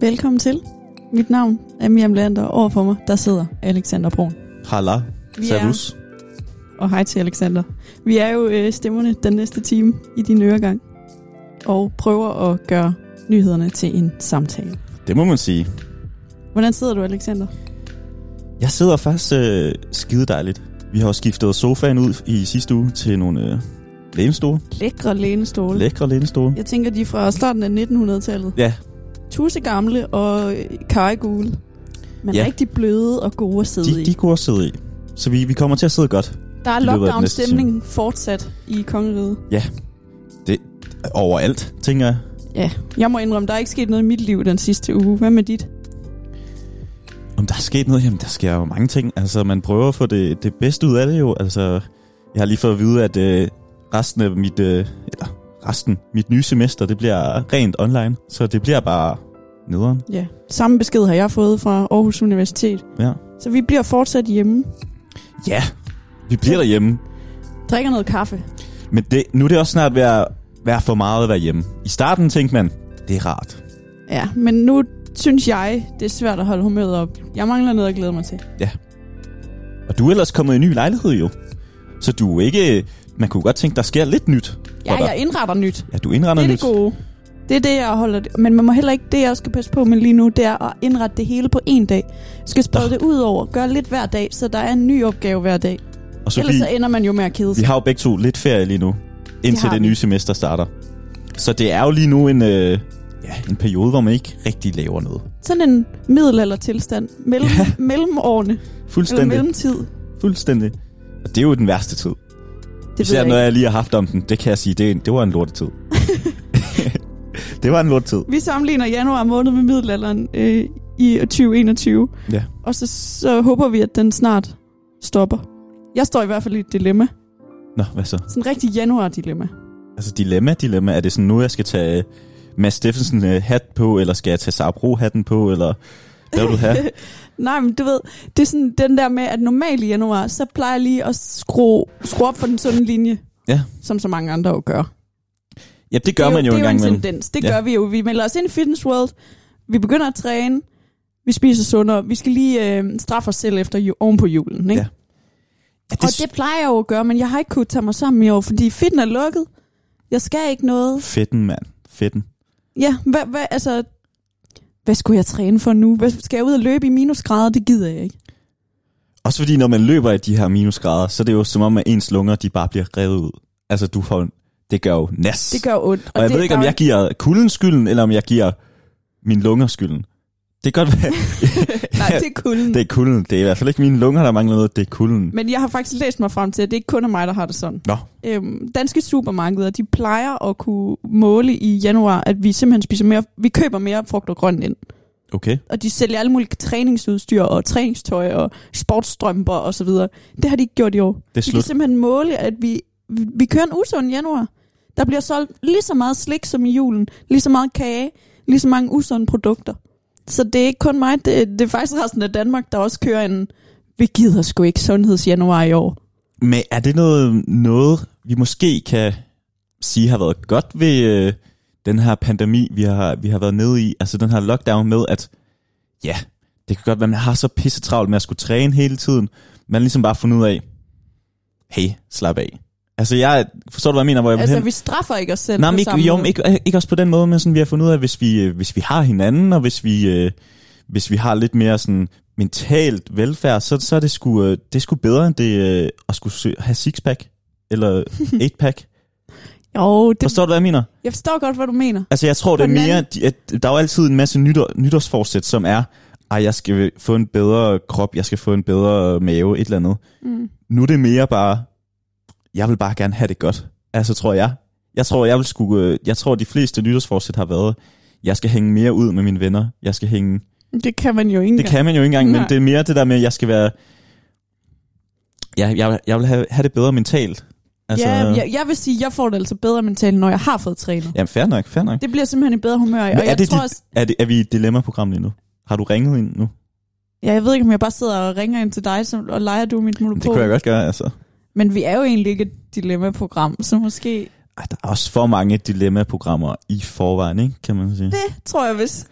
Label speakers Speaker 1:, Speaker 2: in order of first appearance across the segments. Speaker 1: Velkommen til. Mit navn er Miriam Leander, og overfor mig, der sidder Alexander Brun.
Speaker 2: Halla.
Speaker 1: Vi er-
Speaker 2: Servus.
Speaker 1: Og hej til Alexander. Vi er jo øh, stemmerne den næste time i din øregang, og prøver at gøre nyhederne til en samtale.
Speaker 2: Det må man sige.
Speaker 1: Hvordan sidder du, Alexander?
Speaker 2: Jeg sidder faktisk øh, skide dejligt. Vi har jo skiftet sofaen ud i sidste uge til nogle øh, lænestole.
Speaker 1: Lækre lænestole.
Speaker 2: Lækre lænestole.
Speaker 1: Jeg tænker, de er fra starten af 1900-tallet.
Speaker 2: Ja.
Speaker 1: Tusse gamle og øh, karregule. Men
Speaker 2: Ja.
Speaker 1: rigtig bløde og gode at sidde
Speaker 2: De,
Speaker 1: i.
Speaker 2: de er gode at sidde i. Så vi, vi kommer til at sidde godt.
Speaker 1: Der er
Speaker 2: i løbet af den næste
Speaker 1: lockdown-stemning fortsat i kongeriget.
Speaker 2: Overalt, tænker jeg.
Speaker 1: Jeg må indrømme, der er ikke sket noget i mit liv den sidste uge. Hvad med dit?
Speaker 2: Om der er sket noget, jamen der sker jo mange ting. Altså man prøver at få det, det bedste ud af det jo. Altså jeg har lige fået at vide, at øh, resten af mit, øh, eller resten, mit nye semester, det bliver rent online. Så det bliver bare nederen.
Speaker 1: Ja. Samme besked har jeg fået fra Aarhus Universitet.
Speaker 2: Ja.
Speaker 1: Så vi bliver fortsat hjemme.
Speaker 2: Ja, vi bliver derhjemme.
Speaker 1: Drikker noget kaffe.
Speaker 2: Men det, nu er det også snart ved at være for meget at være hjemme. I starten tænkte man, det er rart.
Speaker 1: Ja, men nu synes jeg, det er svært at holde humøret op. Jeg mangler noget at glæde mig til.
Speaker 2: Og du er ellers kommet i en ny lejlighed jo. Så du er ikke... Man kunne godt tænke, der sker lidt nyt.
Speaker 1: Ja,
Speaker 2: Hvor der-
Speaker 1: jeg indretter nyt.
Speaker 2: Ja, du indretter
Speaker 1: Det er
Speaker 2: nyt.
Speaker 1: det gode. Det er det, jeg holder. det- Men man må heller ikke, det jeg skal passe på med lige nu, det er at indrette det hele på en dag. Skal sprede
Speaker 2: Nå.
Speaker 1: det ud over, gøre lidt hver dag, så der er en ny opgave hver dag.
Speaker 2: Og så
Speaker 1: Ellers
Speaker 2: vi,
Speaker 1: så ender man jo med at kede
Speaker 2: vi
Speaker 1: sig.
Speaker 2: har jo begge to lidt ferie lige nu, indtil
Speaker 1: har
Speaker 2: det,
Speaker 1: vi.
Speaker 2: nye semester starter. Så det er jo lige nu en, øh, ja, en periode, hvor man ikke rigtig laver noget.
Speaker 1: Sådan en middelaldertilstand mellem,
Speaker 2: Ja.
Speaker 1: mellem årene, eller
Speaker 2: Fuldstændig.
Speaker 1: mellemtid.
Speaker 2: Fuldstændig. Og det er jo den værste tid.
Speaker 1: Det
Speaker 2: Især
Speaker 1: ved
Speaker 2: når
Speaker 1: jeg ikke.
Speaker 2: jeg lige har haft om den, det kan jeg sige, det, er en- det var en lortetid. det var en lortetid.
Speaker 1: Vi sammenligner januar måned med middelalderen øh, i 2021.
Speaker 2: Ja.
Speaker 1: Og så, så håber vi, at den snart stopper. Jeg står i hvert fald i et dilemma.
Speaker 2: Nå, hvad så?
Speaker 1: Sådan en rigtig januar-dilemma.
Speaker 2: Altså dilemma, dilemma. Er det sådan, nu jeg skal tage øh, Mads Steffensen øh, hat på, eller skal jeg tage Sabro hatten på, eller hvad vil du have?
Speaker 1: Nej, men du ved, det er sådan den der med, at normalt i januar, så plejer jeg lige at skrue, skrue op for den sunde linje.
Speaker 2: Ja.
Speaker 1: Som så mange andre jo gør.
Speaker 2: ja, det gør
Speaker 1: det er
Speaker 2: man jo,
Speaker 1: det
Speaker 2: en gang
Speaker 1: Det er jo en
Speaker 2: imellem.
Speaker 1: tendens. Det
Speaker 2: Ja.
Speaker 1: ja. gør vi jo. Vi melder os ind i Fitness World. Vi begynder at træne. Vi spiser sundere. Vi skal lige øh, straffe os selv efter ju- oven på julen. Ikke?
Speaker 2: Ja,
Speaker 1: Ja,
Speaker 2: Ja,
Speaker 1: det... Og det plejer jeg jo at gøre, men jeg har ikke kunnet tage mig sammen i år, fordi fitten er lukket. Jeg skal ikke noget.
Speaker 2: Fedten, mand. Fedten.
Speaker 1: Ja, hvad, hvad, altså, hvad skulle jeg træne for nu? Hvad, skal jeg ud og løbe i minusgrader? Det gider jeg ikke.
Speaker 2: Også fordi, når man løber i de her minusgrader, så er det jo som om, at ens lunger, de bare bliver revet ud. Altså, du får... Det gør jo nas.
Speaker 1: Det gør ondt.
Speaker 2: og, og jeg
Speaker 1: det,
Speaker 2: ved ikke,
Speaker 1: der
Speaker 2: om
Speaker 1: er-
Speaker 2: jeg giver kulden skylden, eller om jeg giver min lunger skylden. Det kan godt være,
Speaker 1: Nej, det er kulden.
Speaker 2: det er kulden. Det er i hvert fald ikke mine lunger, der mangler noget. Det er kulden.
Speaker 1: Men jeg har faktisk læst mig frem til, at det ikke kun er mig, der har det sådan.
Speaker 2: Nå.
Speaker 1: Øhm, danske supermarkeder, de plejer at kunne måle i januar, at vi simpelthen spiser mere, vi køber mere frugt og grønt ind.
Speaker 2: Okay.
Speaker 1: Og de sælger alle mulige træningsudstyr og træningstøj og sportsstrømper og så videre. Det har de ikke gjort i år.
Speaker 2: Det er
Speaker 1: De kan
Speaker 2: slut.
Speaker 1: simpelthen måle, at vi, vi, vi kører en usund januar. Der bliver solgt lige så meget slik som i julen, lige så meget kage, lige så mange usunde produkter. Så det er ikke kun mig, det, det er faktisk resten af Danmark, der også kører en, vi gider sgu ikke sundhedsjanuar i år.
Speaker 2: Men er det noget, noget vi måske kan sige har været godt ved øh, den her pandemi, vi har, vi har været nede i? Altså den her lockdown med, at ja, det kan godt være, man har så pisse travlt med at skulle træne hele tiden. Man har ligesom bare fundet ud af, hey, slap af. Altså jeg, forstår du, hvad jeg mener, hvor jeg vil
Speaker 1: Altså,
Speaker 2: hen?
Speaker 1: vi straffer ikke os selv
Speaker 2: Nej,
Speaker 1: på
Speaker 2: men
Speaker 1: samme
Speaker 2: ikke, jo,
Speaker 1: måde.
Speaker 2: men ikke, ikke også på den måde, men sådan, vi har fundet ud af, hvis vi, øh, hvis vi har hinanden, og hvis vi, øh, hvis vi har lidt mere sådan mentalt velfærd, så, så er det sgu, øh, det er sgu bedre end det øh, at skulle sø- have sixpack eller eightpack.
Speaker 1: Jo, det,
Speaker 2: Forstår du, hvad jeg mener?
Speaker 1: jeg forstår godt, hvad du mener.
Speaker 2: Altså, jeg tror, det er
Speaker 1: På den
Speaker 2: mere,
Speaker 1: anden-
Speaker 2: de- at der er jo altid en masse nytår, nytårsforsæt, som er, ej, jeg skal få en bedre krop, jeg skal få en bedre mave, et eller andet.
Speaker 1: Mm.
Speaker 2: Nu er det mere bare, jeg vil bare gerne have det godt. Altså, tror jeg. Jeg tror, jeg vil skulle, øh, jeg tror, de fleste nytårsforsæt har været, jeg skal hænge mere ud med mine venner. Jeg skal hænge...
Speaker 1: Det kan man jo ikke
Speaker 2: Det kan man jo ikke engang, men
Speaker 1: Nej.
Speaker 2: det er mere det der med, at jeg skal være... Ja, jeg, jeg vil have, have det bedre mentalt.
Speaker 1: Altså... Ja, jeg, jeg vil sige, jeg får det altså bedre mentalt, når jeg har fået trænet.
Speaker 2: Jamen, fair nok, fair nok.
Speaker 1: Det bliver simpelthen i bedre humør, i,
Speaker 2: Men
Speaker 1: og
Speaker 2: er
Speaker 1: jeg
Speaker 2: det
Speaker 1: tror
Speaker 2: dit-
Speaker 1: også,
Speaker 2: Er, det, er vi i et dilemma-program lige nu? Har du ringet ind nu?
Speaker 1: Ja, jeg ved ikke, om jeg bare sidder og ringer ind til dig, som, og leger du mit monopol.
Speaker 2: Det kunne jeg godt gøre, altså.
Speaker 1: Men vi er jo egentlig ikke et dilemma-program, så måske...
Speaker 2: Ej, der er også for mange dilemma-programmer i forvejen, ikke? kan man sige.
Speaker 1: Det tror jeg, hvis...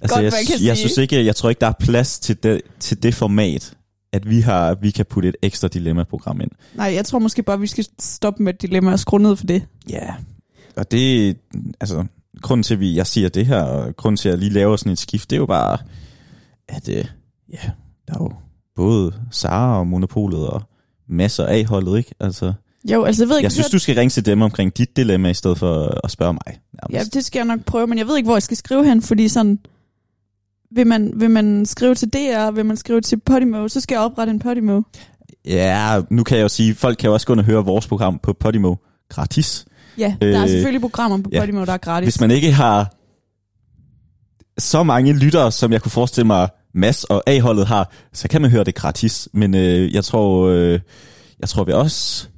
Speaker 2: Altså,
Speaker 1: Godt,
Speaker 2: jeg,
Speaker 1: man kan
Speaker 2: jeg
Speaker 1: sige.
Speaker 2: synes ikke, jeg tror ikke, der er plads til det, til det format, at vi har, vi kan putte et ekstra dilemma-program ind.
Speaker 1: Nej, jeg tror måske bare, vi skal stoppe med et dilemma og skrue ned for det.
Speaker 2: Ja. Yeah. Og det, altså, grunden til, at vi- jeg siger det her, og grunden til, at jeg lige laver sådan et skift, det er jo bare, at øh, ja, der er jo både Sara og Monopolet og masser af holdet, ikke? Altså,
Speaker 1: Jo, altså jeg ved ikke...
Speaker 2: jeg synes, du skal ringe til dem omkring dit dilemma, i stedet for at spørge mig.
Speaker 1: Ja,
Speaker 2: Nærmest.
Speaker 1: det skal jeg nok prøve, men jeg ved ikke, hvor jeg skal skrive hen, fordi sådan... Vil man, vil man skrive til DR, vil man skrive til Podimo, så skal jeg oprette en Podimo.
Speaker 2: Ja, nu kan jeg jo sige, folk kan jo også gå ind og høre vores program på Podimo gratis.
Speaker 1: Ja, øh, der er
Speaker 2: Øh,
Speaker 1: selvfølgelig programmer på
Speaker 2: ja.
Speaker 1: ja, Podimo, der er gratis.
Speaker 2: Hvis man ikke har så mange lyttere, som jeg kunne forestille mig, Mads og A-holdet har, så kan man høre det gratis. Men øh, jeg tror, øh, jeg tror vi også...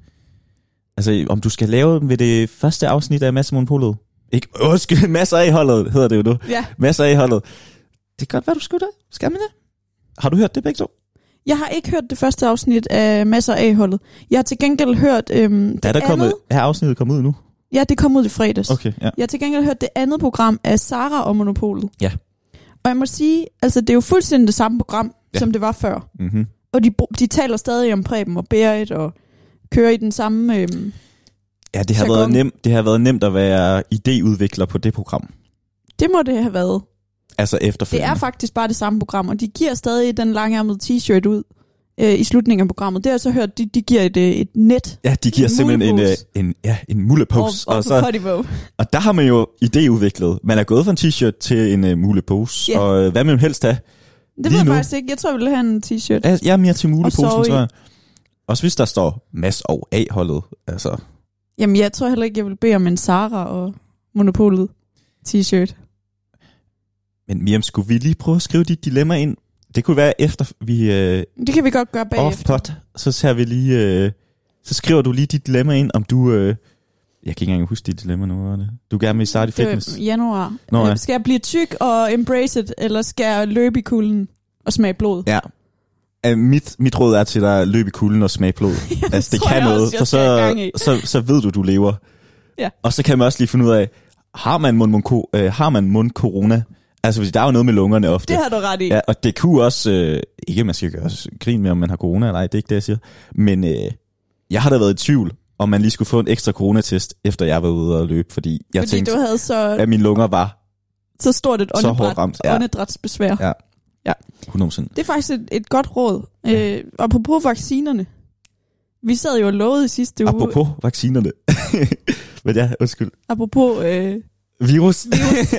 Speaker 2: Altså, om du skal lave den ved det første afsnit af Mads og Monopolet? Ikke, undskyld, Mads og A-holdet hedder det jo nu.
Speaker 1: Ja,
Speaker 2: Mads og A-holdet. Det kan godt være, du skulle det. Skal man det? Har du hørt det begge to?
Speaker 1: jeg har ikke hørt det første afsnit af Masser af holdet Jeg har til gengæld hørt øhm, det
Speaker 2: er, der
Speaker 1: andet.
Speaker 2: kommet, er afsnittet kommet ud nu?
Speaker 1: Ja, det kom ud i fredags.
Speaker 2: Okay, ja.
Speaker 1: Jeg har til gengæld hørt det andet program af Sara og Monopolet.
Speaker 2: Ja.
Speaker 1: Og jeg må sige, altså det er jo fuldstændig det samme program,
Speaker 2: Ja.
Speaker 1: ja. som det var før.
Speaker 2: Mm-hmm.
Speaker 1: Og de, br- de taler stadig om Preben og Berit og kører i den samme... Øhm,
Speaker 2: Ja, det har,
Speaker 1: Jargon.
Speaker 2: været nemt, det har været nemt at være idéudvikler på det program.
Speaker 1: det må det have været.
Speaker 2: Altså
Speaker 1: Det
Speaker 2: efterfølgende.
Speaker 1: er faktisk bare det samme program, og de giver stadig den langærmede t-shirt ud øh, i slutningen af programmet. Det har jeg så hørt, de, de giver et, øh, et net
Speaker 2: Ja, de giver
Speaker 1: En
Speaker 2: simpelthen en, øh,
Speaker 1: mullepose.
Speaker 2: en, ja, en
Speaker 1: over,
Speaker 2: mullepose. Og,
Speaker 1: over
Speaker 2: og,
Speaker 1: så...
Speaker 2: så,
Speaker 1: Podimo.
Speaker 2: og der har man jo idéudviklet. Man er gået fra en t-shirt til en uh, mullepose.
Speaker 1: Ja.
Speaker 2: Yeah. Og øh, hvad man helst have.
Speaker 1: Det ved
Speaker 2: Lige
Speaker 1: jeg
Speaker 2: nu.
Speaker 1: faktisk ikke. Jeg tror, jeg ville have en t-shirt.
Speaker 2: Ja, Jeg er mere til
Speaker 1: Og så
Speaker 2: mulleposen,
Speaker 1: i-
Speaker 2: tror jeg. Også hvis der står Mads og A-holdet. Altså,
Speaker 1: Jamen, jeg tror heller ikke, jeg vil bede om en Sara og Monopolet t-shirt.
Speaker 2: men Miriam, skulle vi lige prøve at skrive dit dilemma ind? Det kunne være, efter vi øh,
Speaker 1: Det kan vi godt gøre bagefter.
Speaker 2: off-pot, så, ser vi lige, øh, så skriver du lige dit dilemma ind, om du... Øh, jeg kan ikke engang huske dit dilemma nu. hvad var det? Du gerne vil starte i
Speaker 1: Det var
Speaker 2: fitness.
Speaker 1: i januar. Øh,
Speaker 2: Nå, ja.
Speaker 1: Skal jeg blive tyk og embrace it, eller skal jeg løbe i kulden og smage blod?
Speaker 2: Ja. Øh, Mit, mit råd er til dig at løbe i kulden og smage blod. altså, det
Speaker 1: tror
Speaker 2: kan
Speaker 1: jeg
Speaker 2: noget,
Speaker 1: også, jeg
Speaker 2: for
Speaker 1: skal i gang
Speaker 2: så,
Speaker 1: i.
Speaker 2: så, så ved du, du lever.
Speaker 1: Ja.
Speaker 2: Og så kan man også lige finde ud af, har man mund, mund, øh, har man mund corona? Altså, fordi der er jo noget med lungerne ofte.
Speaker 1: Det har du ret i.
Speaker 2: ja, og det kunne også, øh, ikke at man skal gøre s- grin med, om man har corona eller ej, det er ikke det, jeg siger. Men øh, jeg har da været i tvivl, om man lige skulle få en ekstra coronatest, efter jeg var ude og løbe, fordi jeg
Speaker 1: fordi
Speaker 2: tænkte,
Speaker 1: du havde så,
Speaker 2: at mine lunger var
Speaker 1: så stort et
Speaker 2: så hårdt
Speaker 1: åndedræt,
Speaker 2: ramt. Ja,
Speaker 1: åndedrætsbesvær.
Speaker 2: Ja. 100%.
Speaker 1: Det er faktisk et, et godt råd. Øh, apropos vaccinerne. Vi sad jo og lovede i sidste uge,
Speaker 2: Apropos vaccinerne. Men ja, undskyld.
Speaker 1: apropos øh,
Speaker 2: Virus.
Speaker 1: virus.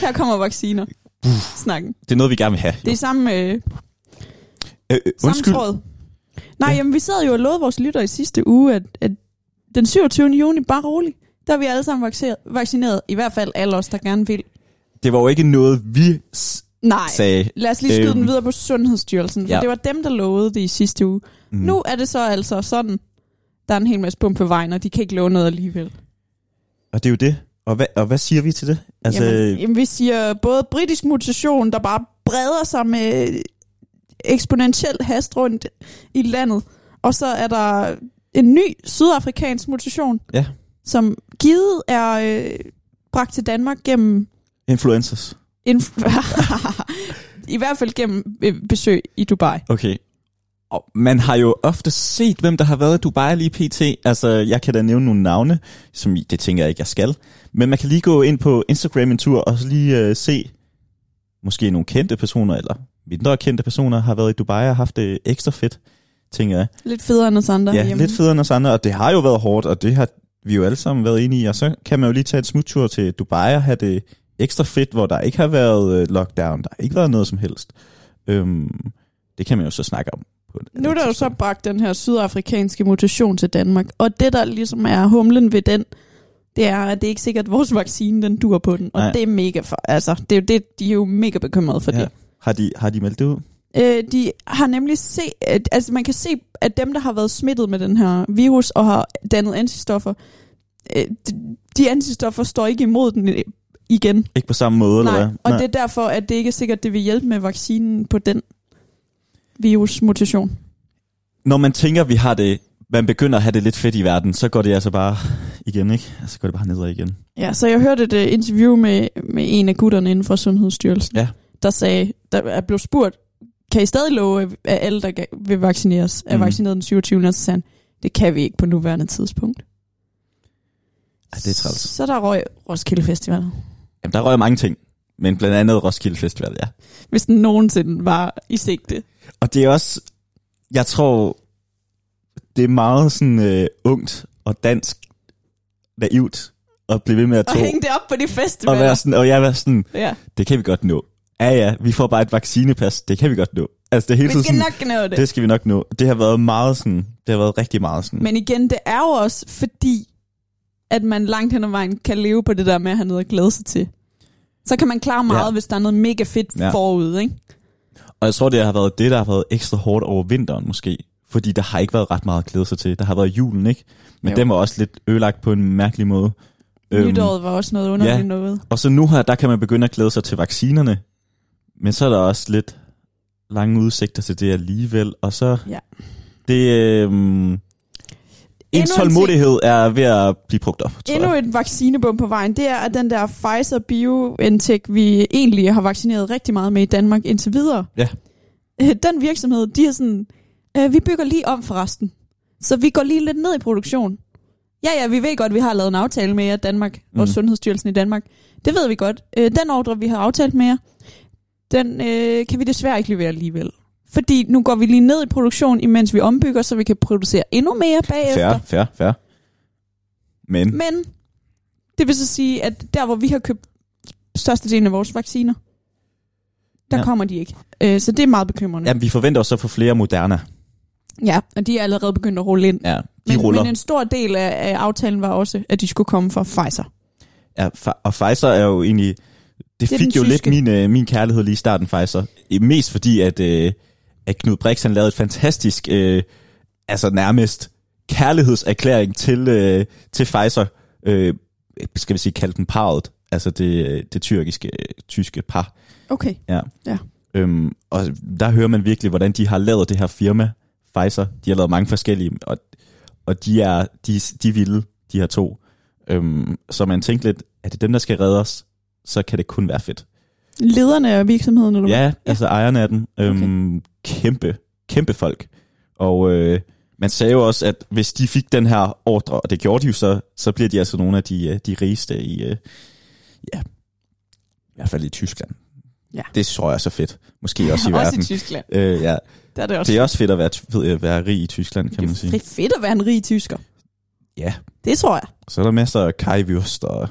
Speaker 1: her kommer vacciner. Snakken.
Speaker 2: Det er noget, vi gerne vil have.
Speaker 1: Det er samme, øh,
Speaker 2: øh, øh,
Speaker 1: samme tråd. Nej,
Speaker 2: Ja.
Speaker 1: jamen vi sad jo og lovede vores lytter i sidste uge, at, at den 27. juni, bare rolig, der er vi alle sammen vaccineret, vaccineret. I hvert fald alle os, der gerne vil.
Speaker 2: det var jo ikke noget, vi s-
Speaker 1: Nej,
Speaker 2: sagde.
Speaker 1: lad os lige skyde
Speaker 2: Øhm.
Speaker 1: den videre på Sundhedsstyrelsen, for
Speaker 2: Ja.
Speaker 1: ja. det var dem, der lovede det i sidste uge.
Speaker 2: Mm.
Speaker 1: Mm. Nu er det så altså sådan, der er en hel masse bump på vejen, og de kan ikke love noget alligevel.
Speaker 2: Og det er jo det. Og hvad, og hvad siger vi til det? Altså,
Speaker 1: jamen, jamen, vi siger både britisk mutation, der bare breder sig med eksponentielt hast rundt i landet, og så er der en ny sydafrikansk mutation,
Speaker 2: Ja.
Speaker 1: som givet er øh, bragt til Danmark gennem
Speaker 2: influencers.
Speaker 1: inf- i hvert fald gennem øh, besøg i Dubai.
Speaker 2: Okay. Og man har jo ofte set, hvem der har været i Dubai lige pt. Altså, jeg kan da nævne nogle navne, som I- det tænker jeg ikke, jeg skal. Men man kan lige gå ind på Instagram en tur og så lige øh, se, måske nogle kendte personer, eller mindre kendte personer, har været i Dubai og haft det ekstra fedt, tænker jeg.
Speaker 1: Lidt federe end os andre
Speaker 2: Ja,
Speaker 1: herhjemme.
Speaker 2: lidt federe end os andre, og det har jo været hårdt, og det har vi jo alle sammen været enige i. Og så kan man jo lige tage et smuttur til Dubai og have det ekstra fedt, hvor der ikke har været øh, lockdown, der har ikke været noget som helst. Øhm, det kan man jo så snakke om. På et
Speaker 1: Nu er
Speaker 2: andet
Speaker 1: der jo så
Speaker 2: tidspunkt.
Speaker 1: bragt den her sydafrikanske mutation til Danmark, og det der ligesom er humlen ved den, det er, at det er ikke sikkert, at vores vaccine den dur på den, og
Speaker 2: Nej.
Speaker 1: Nej. det er mega for, altså, det er jo det, de er jo mega bekymrede for ja. det.
Speaker 2: Har de, har de meldt det ud?
Speaker 1: Øh, de har nemlig se, at, altså man kan se, at dem, der har været smittet med den her virus og har dannet antistoffer, øh, de, de antistoffer står ikke imod den øh, igen.
Speaker 2: Ikke på samme måde,
Speaker 1: Nej,
Speaker 2: eller hvad?
Speaker 1: og det er derfor, at det ikke er sikkert, det vil hjælpe med vaccinen på den virusmutation.
Speaker 2: Når man tænker, vi har det, man begynder at have det lidt fedt i verden, så går det altså bare igen, ikke? Og så går det bare nedad igen.
Speaker 1: Ja, så jeg hørte et øh, interview med, med en af gutterne inden for Sundhedsstyrelsen,
Speaker 2: Ja.
Speaker 1: der sagde, der er blevet spurgt, kan I stadig love, at alle, der ga- vil vaccineres, er
Speaker 2: Mhm.
Speaker 1: vaccineret den 27. Og så sagde han, det kan vi ikke på nuværende tidspunkt.
Speaker 2: Ej, det er træls.
Speaker 1: Så der røg Roskilde Festival.
Speaker 2: Jamen, der røg mange ting, men blandt andet Roskilde Festival, ja.
Speaker 1: Hvis den nogensinde var i sigte.
Speaker 2: Og det er også, jeg tror, det er meget sådan øh, ungt og dansk naivt at blive ved med at
Speaker 1: Og
Speaker 2: tro.
Speaker 1: hænge det op på de
Speaker 2: Og,
Speaker 1: festivaler.
Speaker 2: være sådan, og jeg var sådan,
Speaker 1: Ja.
Speaker 2: det kan vi godt nå. Ja ja, vi får bare et vaccinepas, det kan vi godt nå. Altså det er hele
Speaker 1: Vi
Speaker 2: tiden
Speaker 1: skal
Speaker 2: sådan,
Speaker 1: nok nå det.
Speaker 2: det skal vi nok nå. Det har været meget sådan, det har været rigtig meget sådan.
Speaker 1: Men igen, det er jo også fordi, at man langt hen ad vejen kan leve på det der med at have noget at glæde sig til. Så kan man klare meget, ja. hvis der er noget mega fedt
Speaker 2: Ja.
Speaker 1: ja. forud, ikke?
Speaker 2: Og jeg tror, det har været det, der har været ekstra hårdt over vinteren måske. Fordi der har ikke været ret meget at glæde sig til. Der har været julen, ikke? Men
Speaker 1: Jo.
Speaker 2: den var også lidt ødelagt på en mærkelig måde.
Speaker 1: Øhm, Nytåret var også noget underligt
Speaker 2: ja.
Speaker 1: ja. noget.
Speaker 2: Og så nu her, der kan man begynde at glæde sig til vaccinerne. Men så er der også lidt lange udsigter til det alligevel. Og så...
Speaker 1: Ja.
Speaker 2: Det, øh,
Speaker 1: en
Speaker 2: ens
Speaker 1: ting.
Speaker 2: tålmodighed er ved at blive brugt op, tror
Speaker 1: Endnu
Speaker 2: jeg.
Speaker 1: et vaccinebom på vejen, det er at den der Pfizer BioNTech, vi egentlig har vaccineret rigtig meget med i Danmark indtil videre.
Speaker 2: Ja.
Speaker 1: Øh, Den virksomhed, de er sådan, øh, vi bygger lige om for resten. Så vi går lige lidt ned i produktion. Ja, ja, vi ved godt, vi har lavet en aftale med jer, Danmark, mm. og
Speaker 2: Mm.
Speaker 1: Sundhedsstyrelsen i Danmark. Det ved vi godt. Øh, Den ordre, vi har aftalt med jer, den øh, kan vi desværre ikke levere alligevel. Fordi nu går vi lige ned i produktion, imens vi ombygger, så vi kan producere endnu mere bagefter.
Speaker 2: Færre, færre, færre. Men, Men
Speaker 1: Men det vil så sige, at der hvor vi har købt størstedelen af vores vacciner, der
Speaker 2: Ja.
Speaker 1: ja. kommer de ikke. Øh, så det er meget bekymrende. Ja.
Speaker 2: jamen, vi forventer også at få flere Moderna.
Speaker 1: ja, og de er allerede begyndt at rulle ind.
Speaker 2: Ja, de
Speaker 1: men,
Speaker 2: ruller.
Speaker 1: men en stor del af, af aftalen var også, at de skulle komme fra Pfizer.
Speaker 2: Ja, fa- og Pfizer er jo egentlig... Det,
Speaker 1: Det er
Speaker 2: det fik
Speaker 1: den
Speaker 2: jo lidt
Speaker 1: tyske.
Speaker 2: min, øh, min kærlighed lige i starten, Pfizer. Eh, Mest fordi, at, øh, at Knud Brix han lavede et fantastisk, øh, altså nærmest kærlighedserklæring til, øh, til Pfizer. Øh, skal vi sige, kalde den parret. Altså det, øh, det tyrkiske, øh, tyske par.
Speaker 1: Okay.
Speaker 2: Øhm, og der hører man virkelig, hvordan de har lavet det her firma, Pfizer. De har lavet mange forskellige, og, og de er de, de er vilde, de her to. Øhm, så man tænkte lidt, er det dem, der skal redde os? Så kan det kun være fedt.
Speaker 1: Lederne af virksomheden, eller hvad?
Speaker 2: Ja, altså ejerne af den. Øhm, Kæmpe, kæmpe folk. Og øh, man sagde jo også, at hvis de fik den her ordre, og det gjorde de jo så, så bliver de altså nogle af de, øh, de rigeste i, øh, ja, i hvert fald i Tyskland.
Speaker 1: Ja.
Speaker 2: Det tror jeg er så fedt. Måske også i
Speaker 1: også
Speaker 2: verden.
Speaker 1: i Tyskland.
Speaker 2: Øh, ja.
Speaker 1: Der er det også,
Speaker 2: Det er også fedt at være, fed, at være rig i Tyskland, kan man
Speaker 1: det er
Speaker 2: sige.
Speaker 1: fedt at være en rig tysker.
Speaker 2: Ja,
Speaker 1: Det tror jeg.
Speaker 2: så er der masser af kajvyrst og,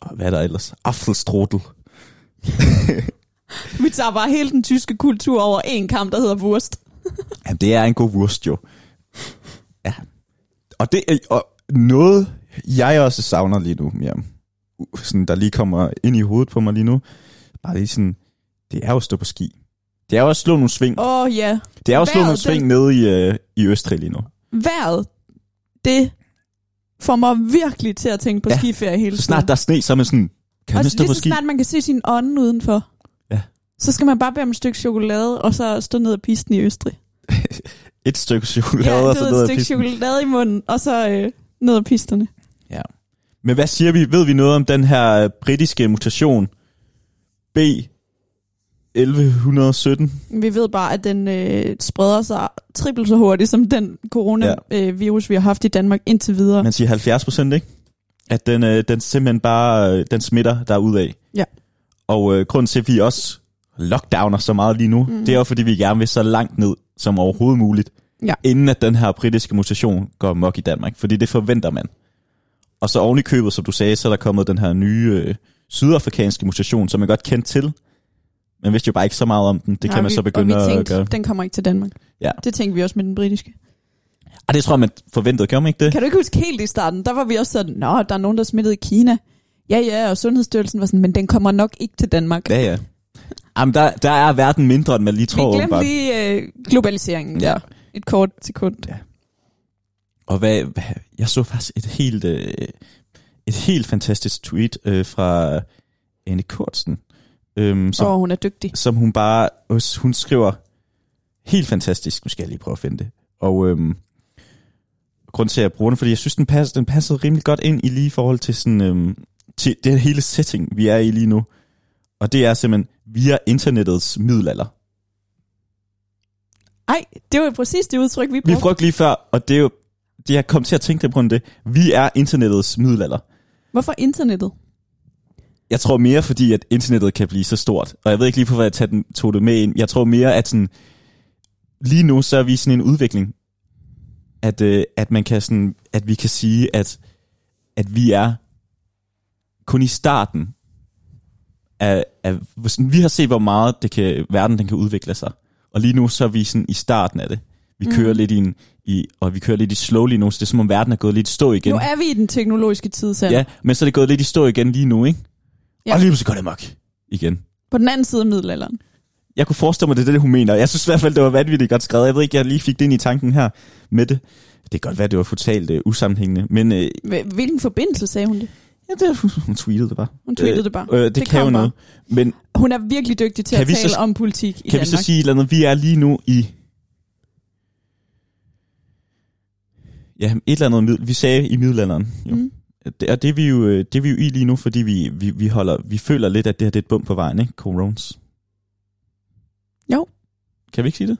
Speaker 2: og hvad er der ellers? Affelstrotel.
Speaker 1: Vi tager bare hele den tyske kultur over en kamp, der hedder Wurst.
Speaker 2: Jamen, det er en god wurst jo. Ja. Og det er og noget, jeg også savner lige nu, Miriam. U- Sådan, der lige kommer ind i hovedet på mig lige nu. Bare lige sådan, det er jo at stå på ski. Det er jo at slå nogle sving.
Speaker 1: Åh oh, ja.
Speaker 2: Det er jo at slå
Speaker 1: vejret,
Speaker 2: nogle sving nede i, øh, i Østrig lige nu.
Speaker 1: Vejret, det får mig virkelig til at tænke på
Speaker 2: Ja.
Speaker 1: ja. skiferie hele
Speaker 2: Så
Speaker 1: tiden.
Speaker 2: snart der er sne, så er man sådan, kan man
Speaker 1: og
Speaker 2: stå
Speaker 1: lige
Speaker 2: på
Speaker 1: så
Speaker 2: ski?
Speaker 1: snart man kan se sin ånde udenfor,
Speaker 2: Ja.
Speaker 1: så skal man bare bede om et stykke chokolade, og så stå ned ad pisten i Østrig.
Speaker 2: Et stykke chokolade og
Speaker 1: du
Speaker 2: så
Speaker 1: ved,
Speaker 2: ned ad
Speaker 1: et stykke
Speaker 2: pisten.
Speaker 1: chokolade i munden, og så øh, ned ad pisterne.
Speaker 2: Men hvad siger vi? Ved vi noget om den her øh, britiske mutation B 1117?
Speaker 1: Vi ved bare, at den øh, spreder sig trippelt så hurtigt, som den coronavirus, vi har haft i Danmark indtil videre.
Speaker 2: Man siger 70 procent, ikke? At den, øh, den simpelthen bare øh, den smitter derudad.
Speaker 1: Ja.
Speaker 2: Og øh, grunden til, at vi også lockdowner så meget lige nu,
Speaker 1: Mhm.
Speaker 2: mm. det er jo, fordi vi gerne vil så langt ned som overhovedet muligt,
Speaker 1: Ja.
Speaker 2: inden at den her britiske mutation går mok i Danmark. Fordi det forventer man. Og så oven i købet, som du sagde, så er der kommet den her nye øh, sydafrikanske mutation, som man godt kendt til. Men vidste jo bare ikke så meget om den. Det kan
Speaker 1: Og
Speaker 2: man
Speaker 1: vi,
Speaker 2: så
Speaker 1: og vi
Speaker 2: begynde at
Speaker 1: tænkte,
Speaker 2: gøre.
Speaker 1: den kommer ikke til Danmark.
Speaker 2: Ja.
Speaker 1: Det tænkte vi også med den britiske.
Speaker 2: Og Ah, det tror jeg, man forventede. Gør man ikke det?
Speaker 1: Kan du ikke huske helt i starten? Der var vi også sådan, nå, der er nogen, der er smittet i Kina. Ja, ja, og Sundhedsstyrelsen var sådan, men den kommer nok ikke til Danmark.
Speaker 2: Ja, ja. Jamen, der, der er verden mindre, end man lige tror.
Speaker 1: Vi
Speaker 2: åbenbart.
Speaker 1: glemte lige øh, globaliseringen
Speaker 2: Ja.
Speaker 1: ja. et kort sekund.
Speaker 2: Og hvad, hvad, jeg så faktisk et helt, øh, et helt fantastisk tweet øh, fra Anne Kortsen, øhm,
Speaker 1: Så
Speaker 2: som,
Speaker 1: oh,
Speaker 2: oh.
Speaker 1: hun er dygtig.
Speaker 2: som hun bare, hos- hun skriver, helt fantastisk, nu skal jeg lige prøve at finde det. Og øhm, grund til, at jeg bruger den, fordi jeg synes, den, passer, den passede rimelig godt ind i lige i forhold til, sådan, øhm, til det hele setting, vi er i lige nu. Og det er simpelthen via internettets middelalder.
Speaker 1: Ej, det var præcis det udtryk, vi
Speaker 2: Vi
Speaker 1: brugte.
Speaker 2: brugte lige før, og det er jo, det jeg kom til at tænke det på grund af det. Vi er internettets middelalder.
Speaker 1: Hvorfor internettet?
Speaker 2: Jeg tror mere, fordi at internettet kan blive så stort. Og jeg ved ikke lige, hvorfor jeg tog, den, tog det med ind. Jeg tror mere, at sådan, lige nu så er vi i sådan en udvikling, at, øh, at, man kan sådan, at vi kan sige, at, at vi er kun i starten af, af sådan, vi har set, hvor meget det kan, verden den kan udvikle sig. Og lige nu så er vi sådan i starten af det. Vi
Speaker 1: Mm.
Speaker 2: kører mm. lidt i, en, i, og vi kører lidt i slow lige nu, så det er som om verden er gået lidt i stå igen.
Speaker 1: Nu er vi i den teknologiske tid selv.
Speaker 2: Ja, men så er det gået lidt i stå igen lige nu, ikke?
Speaker 1: Ja.
Speaker 2: Ja. Og lige pludselig går det mok igen.
Speaker 1: På den anden side af middelalderen.
Speaker 2: Jeg kunne forestille mig, det er det, hun mener. Jeg synes i hvert fald, det var vanvittigt godt skrevet. Jeg ved ikke, jeg lige fik det ind i tanken her med det. Det kan godt være, det var totalt uh, usammenhængende, men uh,
Speaker 1: Hv- Hvilken forbindelse sagde hun det?
Speaker 2: ja, det, hun tweetede det bare.
Speaker 1: Hun tweetede øh, det bare.
Speaker 2: Øh, det,
Speaker 1: Det
Speaker 2: det kan jo
Speaker 1: kom
Speaker 2: noget. Men
Speaker 1: Hun er virkelig dygtig til
Speaker 2: Kan
Speaker 1: at
Speaker 2: vi
Speaker 1: tale
Speaker 2: så-
Speaker 1: om politik i
Speaker 2: kan
Speaker 1: Danmark.
Speaker 2: vi så sige et eller andet? Vi er lige nu i... Ja, et eller andet middel. Vi sagde i middelalderen. Jo.
Speaker 1: Mm.
Speaker 2: Mm. Det, og det er, vi jo, øh, det er vi jo i lige nu, fordi vi, vi, vi, holder, vi føler lidt, at det her det er et bump på vejen, ikke? Corones.
Speaker 1: Jo.
Speaker 2: Kan vi ikke sige det?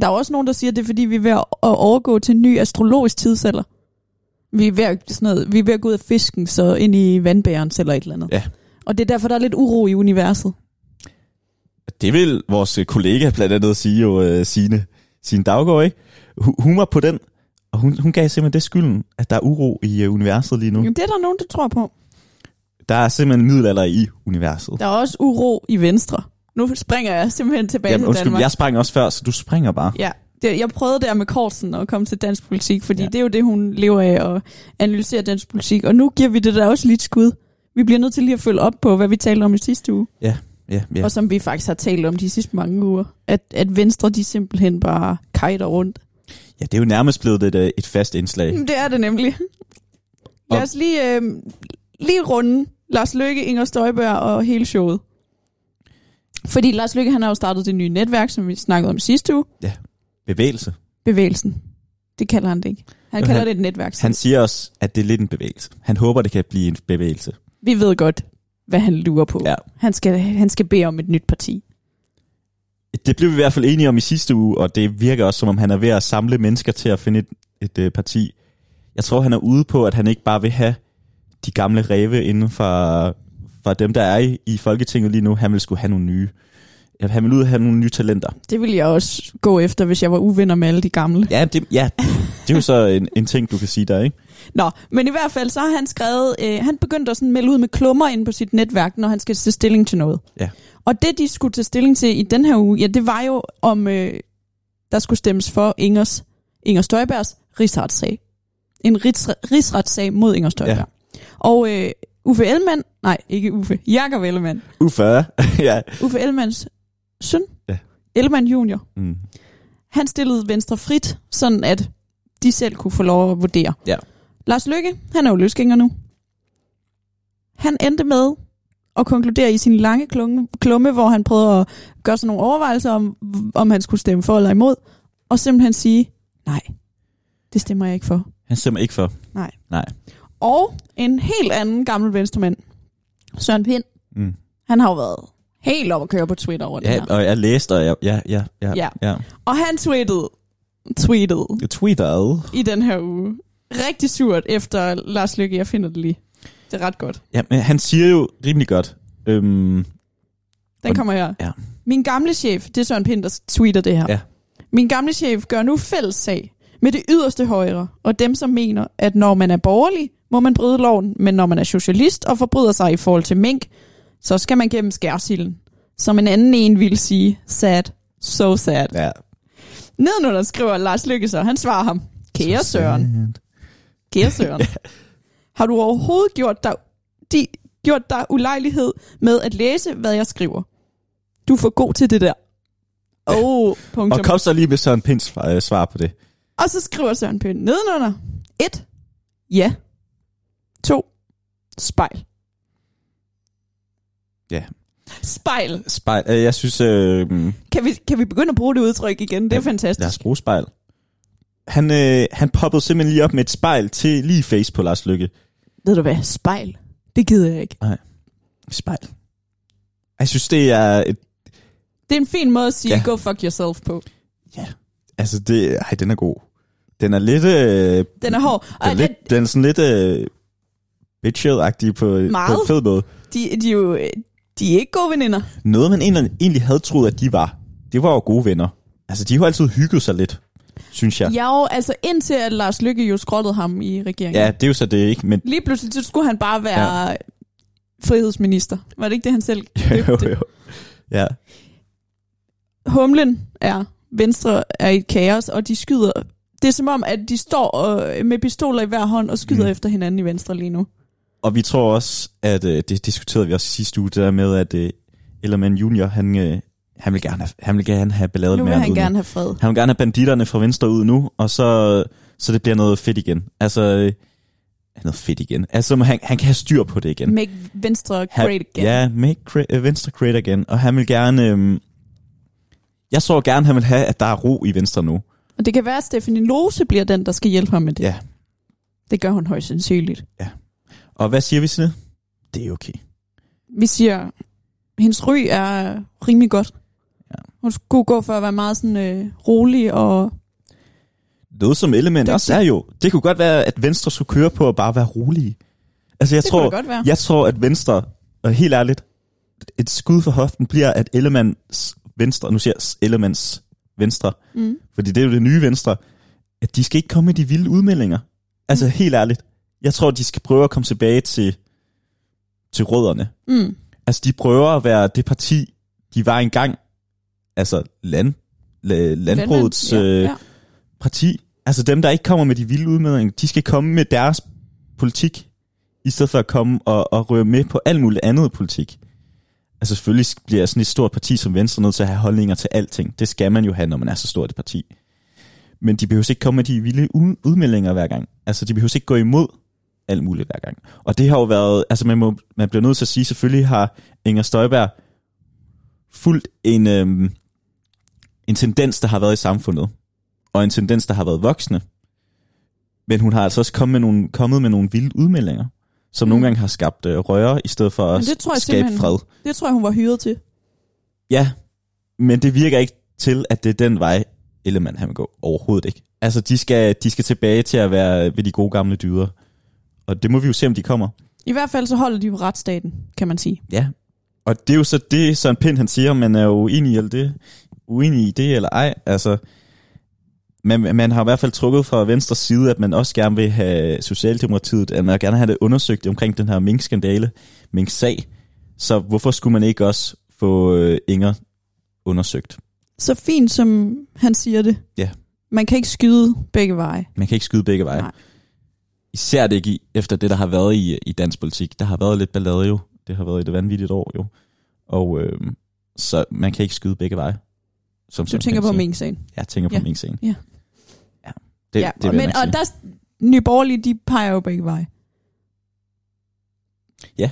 Speaker 1: Der er også nogen, der siger, at det er fordi, vi er ved at at overgå til en ny astrologisk tidsalder. Vi er ved at, sådan noget, vi er ved at gå ud af fisken, så ind i vandbæren eller et eller andet.
Speaker 2: Ja. Mm.
Speaker 1: Og det er derfor, der er lidt uro i universet.
Speaker 2: Det vil vores øh, kollega blandt andet sige jo, øh, Signe, Signe Daggaard, ikke? Hun, hun var på den, og hun, hun gav simpelthen det skylden, at der er uro i øh, universet lige nu.
Speaker 1: Jamen, det er der nogen, der tror på.
Speaker 2: Der er simpelthen middelalder i universet.
Speaker 1: Der er også uro i Venstre. Nu springer jeg simpelthen tilbage
Speaker 2: Jamen,
Speaker 1: til Danmark.
Speaker 2: undskyld, jeg sprang også før, så du springer bare.
Speaker 1: Ja, det, jeg prøvede der med Kortsen at komme til dansk politik, fordi ja.
Speaker 2: Ja.
Speaker 1: det er jo det, hun lever af, at analysere dansk politik. Og nu giver vi det der også lidt skud. Vi bliver nødt til lige at følge op på, hvad vi talte om i sidste uge,
Speaker 2: Ja, ja.
Speaker 1: ja. og som vi faktisk har talt om de sidste mange uger. At, at Venstre, de simpelthen bare kajter rundt.
Speaker 2: ja det er jo nærmest blevet et, øh, et fast indslag.
Speaker 1: Det er det nemlig. Lad
Speaker 2: Og-
Speaker 1: os lige, øh, lige runde Lars Løkke, Inger Støjberg og hele showet. Fordi Lars Løkke, han har jo startet det nye netværk, som vi snakkede om sidste uge.
Speaker 2: Bevægelse.
Speaker 1: Bevægelsen. Det kalder han det ikke. Han
Speaker 2: Jo,
Speaker 1: kalder
Speaker 2: han-
Speaker 1: det et netværk.
Speaker 2: Han siger også, at det er lidt en bevægelse. Han håber, det kan blive en bevægelse.
Speaker 1: vi ved godt, hvad han lurer på.
Speaker 2: Ja.
Speaker 1: Han, skal, han skal bede om et nyt parti.
Speaker 2: Det blev vi i hvert fald enige om i sidste uge, og det virker også, som om han er ved at samle mennesker til at finde et, et øh, parti. Jeg tror, han er ude på, at han ikke bare vil have de gamle ræve inden for, for dem, der er i, i Folketinget lige nu. Han vil skulle have nogle nye. At Han vil ud og have nogle nye talenter.
Speaker 1: Det ville jeg også gå efter, hvis jeg var uvenner med alle de gamle.
Speaker 2: Ja, det, ja, det er jo så en, en ting, du kan sige der, ikke?
Speaker 1: Nå, men i hvert fald så har han skrevet, øh, han begyndte at sådan melde ud med klummer ind på sit netværk, når han skal tage stilling til noget.
Speaker 2: Ja.
Speaker 1: Og det, de skulle tage stilling til i den her uge, ja, det var jo, om øh, der skulle stemmes for Ingers, Inger Støjbergs rigsretssag. En rigs, rigsretssag mod Inger Støjberg. Ja. Og øh, Uffe Ellemann, nej, ikke Uffe, Jakob Ellemann,
Speaker 2: Uffa. ja.
Speaker 1: Uffe Ellemanns søn,
Speaker 2: Ja.
Speaker 1: Ellemann junior,
Speaker 2: Mm.
Speaker 1: han stillede Venstre frit, sådan at de selv kunne få lov at vurdere.
Speaker 2: Ja.
Speaker 1: Lars Lykke, han er jo løsgænger nu. Han endte med at konkludere i sin lange klunge- klumme, hvor han prøvede at gøre sig nogle overvejelser om, om han skulle stemme for eller imod, og simpelthen sige, nej, det stemmer jeg ikke for.
Speaker 2: Han stemmer ikke for.
Speaker 1: Og en helt anden gammel venstremand, Søren Pind,
Speaker 2: Mm.
Speaker 1: han har jo været helt op at køre på Twitter over det her.
Speaker 2: Ja, og jeg læste, og jeg, ja, ja, ja,
Speaker 1: Ja.
Speaker 2: ja. ja.
Speaker 1: Og han tweetede, tweetede
Speaker 2: Jeg tweetede.
Speaker 1: i den her uge. Rigtig surt efter Lars Lykke, jeg finder det lige. Det er ret godt.
Speaker 2: Ja, men han siger jo rimelig godt. Øhm,
Speaker 1: Den
Speaker 2: Og-
Speaker 1: kommer her.
Speaker 2: ja.
Speaker 1: Min gamle chef, det er Søren Pind, der tweeter det her.
Speaker 2: Ja.
Speaker 1: Min gamle chef gør nu fælles sag med det yderste højre, og dem som mener, at når man er borgerlig, må man bryde loven, men når man er socialist og forbryder sig i forhold til mink, så skal man gennem skærsilden. Som en anden en ville sige, sad, so sad.
Speaker 2: ja.
Speaker 1: Nedenunder skriver Lars Lykke så, han svarer ham, kære Søren, Kære Søren, har du overhovedet gjort dig, de, gjort dig ulejlighed med at læse, hvad jeg skriver? Du er for god til det der. Oh,
Speaker 2: Og
Speaker 1: punktum.
Speaker 2: kom så lige med Søren Pins øh, svar på det.
Speaker 1: Og så skriver Søren Pind nedenunder. 1. Ja. 2. Spejl.
Speaker 2: Ja.
Speaker 1: Spejl.
Speaker 2: Spejl. Øh, jeg synes, øh,
Speaker 1: Kan vi, kan vi begynde at bruge det udtryk igen? Det er
Speaker 2: Ja,
Speaker 1: fantastisk.
Speaker 2: lad os bruge spejl. han, øh, han poppede simpelthen lige op med et spejl til lige face på Lars Lykke.
Speaker 1: Ved du hvad? Spejl. Det gider jeg ikke.
Speaker 2: Spejl. Jeg synes, det er et...
Speaker 1: Det er en fin måde at sige,
Speaker 2: Ja.
Speaker 1: ja. go fuck yourself på.
Speaker 2: Altså, det... Ej, den er god. Den er lidt... Øh,
Speaker 1: Den er hård. Og
Speaker 2: den, er
Speaker 1: den,
Speaker 2: lidt, den er sådan lidt... Øh, bitchet-agtig på, på
Speaker 1: Meget.
Speaker 2: en fed måde.
Speaker 1: de, de, er jo, øh, de er ikke gode veninder.
Speaker 2: Noget, man egentlig, egentlig havde troet, at de var, det var jo gode venner. Altså, de har jo altid hygget sig lidt, synes jeg.
Speaker 1: Ja, jo, altså indtil at Lars Lykke jo skrottede ham i regeringen.
Speaker 2: Ja, det er jo så det, ikke? Men
Speaker 1: Lige pludselig så skulle han bare være ja. frihedsminister. Var det ikke det, han selv
Speaker 2: jo,
Speaker 1: købte?
Speaker 2: jo. Ja.
Speaker 1: Humlen er, Venstre er i et kaos, og de skyder. Det er som om, at de står og, med pistoler i hver hånd og skyder
Speaker 2: Mm.
Speaker 1: mm. efter hinanden i Venstre lige nu.
Speaker 2: Og vi tror også, at øh, det diskuterede vi også i sidste uge, det der med, at øh, Ellermann Junior, han, øh, han, vil gerne have, han vil gerne have balladet
Speaker 1: Nu
Speaker 2: med
Speaker 1: vil
Speaker 2: ham
Speaker 1: han
Speaker 2: ud
Speaker 1: gerne have fred.
Speaker 2: Han vil gerne have banditterne fra venstre ud nu, og så, så det bliver noget fedt igen. Altså, øh, noget fedt igen. Altså, han, han kan have styr på det igen.
Speaker 1: Make Venstre
Speaker 2: Han-
Speaker 1: great again.
Speaker 2: Ja, make cre- øh, Venstre great again. Og han vil gerne... Øhm, jeg så gerne, han vil have, at der er ro i Venstre nu.
Speaker 1: Og det kan være, at Stephanie Lose bliver den, der skal hjælpe ham med det.
Speaker 2: Ja.
Speaker 1: Det gør hun højst sandsynligt.
Speaker 2: Og hvad siger vi til det? Det er okay.
Speaker 1: Vi siger, hendes ry er rimelig godt.
Speaker 2: Ja.
Speaker 1: Hun skulle gå for at være meget sådan, øh, rolig og
Speaker 2: Noget som element
Speaker 1: Det-
Speaker 2: også er jo... Det kunne godt være, at Venstre skulle køre på at bare være rolige. Altså, jeg
Speaker 1: det
Speaker 2: tror...
Speaker 1: kunne da godt være.
Speaker 2: Jeg tror, at Venstre, og helt ærligt, et skud for hoften bliver, at Ellemands Venstre, nu siger jeg Ellemands Venstre,
Speaker 1: Mm.
Speaker 2: fordi det er jo det nye Venstre, at de skal ikke komme med de vilde udmeldinger. Altså mm. helt ærligt, jeg tror, de skal prøve at komme tilbage til, til rødderne.
Speaker 1: Mm.
Speaker 2: Altså de prøver at være det parti, de var engang, altså land, la, landbrugets
Speaker 1: Landmænd,
Speaker 2: øh,
Speaker 1: ja, ja.
Speaker 2: parti. Altså dem, der ikke kommer med de vilde udmeldinger, de skal komme med deres politik, i stedet for at komme og, og røre med på alt muligt andet politik. Altså selvfølgelig bliver sådan et stort parti som Venstre nødt til at have holdninger til alting. Det skal man jo have, når man er så stort et parti. Men de behøver ikke komme med de vilde u- udmeldinger hver gang. Altså de behøver ikke gå imod alt muligt hver gang. Og det har jo været, altså man, må, man bliver nødt til at sige, selvfølgelig har Inger Støjberg fuldt en, øhm, en tendens, der har været i samfundet og en tendens, der har været voksne. Men hun har altså også kommet med nogle, kommet med nogle vilde udmeldinger,
Speaker 1: Mm.
Speaker 2: som mm. nogle gange har skabt øh, røre, i stedet for at
Speaker 1: Men det tror jeg
Speaker 2: skabe
Speaker 1: simpelthen-
Speaker 2: fred.
Speaker 1: Det tror jeg, hun var hyret til.
Speaker 2: Ja, men det virker ikke til, at det er den vej, Ellemann han vil gå. Overhovedet ikke. Altså, de skal, de skal tilbage til at være ved de gode gamle dyder. Og det må vi jo se, om de kommer.
Speaker 1: I hvert fald så holder de jo retsstaten, kan man sige.
Speaker 2: Ja. Og det er jo så det, Søren Pind han siger, om man er uenig i eller det, uenig i det eller ej. Altså, man, man har i hvert fald trukket fra venstre side, at man også gerne vil have Socialdemokratiet, at man gerne vil have det undersøgt omkring den her minkskandale, mink-sag. Så hvorfor skulle man ikke også få øh, Inger undersøgt?
Speaker 1: Så fint, som han siger det.
Speaker 2: Ja.
Speaker 1: Man kan ikke skyde begge veje.
Speaker 2: Man kan ikke skyde begge veje.
Speaker 1: Nej.
Speaker 2: Især det ikke i- efter det, der har været i, i dansk politik. Der har været lidt ballade jo. Det har været et vanvittigt år jo. Og øh, så man kan ikke skyde begge veje. Som
Speaker 1: Du
Speaker 2: Søren
Speaker 1: tænker på
Speaker 2: Pind siger.
Speaker 1: mink-sagen.
Speaker 2: Jeg tænker på ja.
Speaker 1: Ja.
Speaker 2: min scene.
Speaker 1: Ja.
Speaker 2: ja. Det, ja, det vil
Speaker 1: men,
Speaker 2: men, jeg
Speaker 1: og
Speaker 2: nok sige.
Speaker 1: der, Nye Borgerlige, de peger jo begge veje.
Speaker 2: Ja.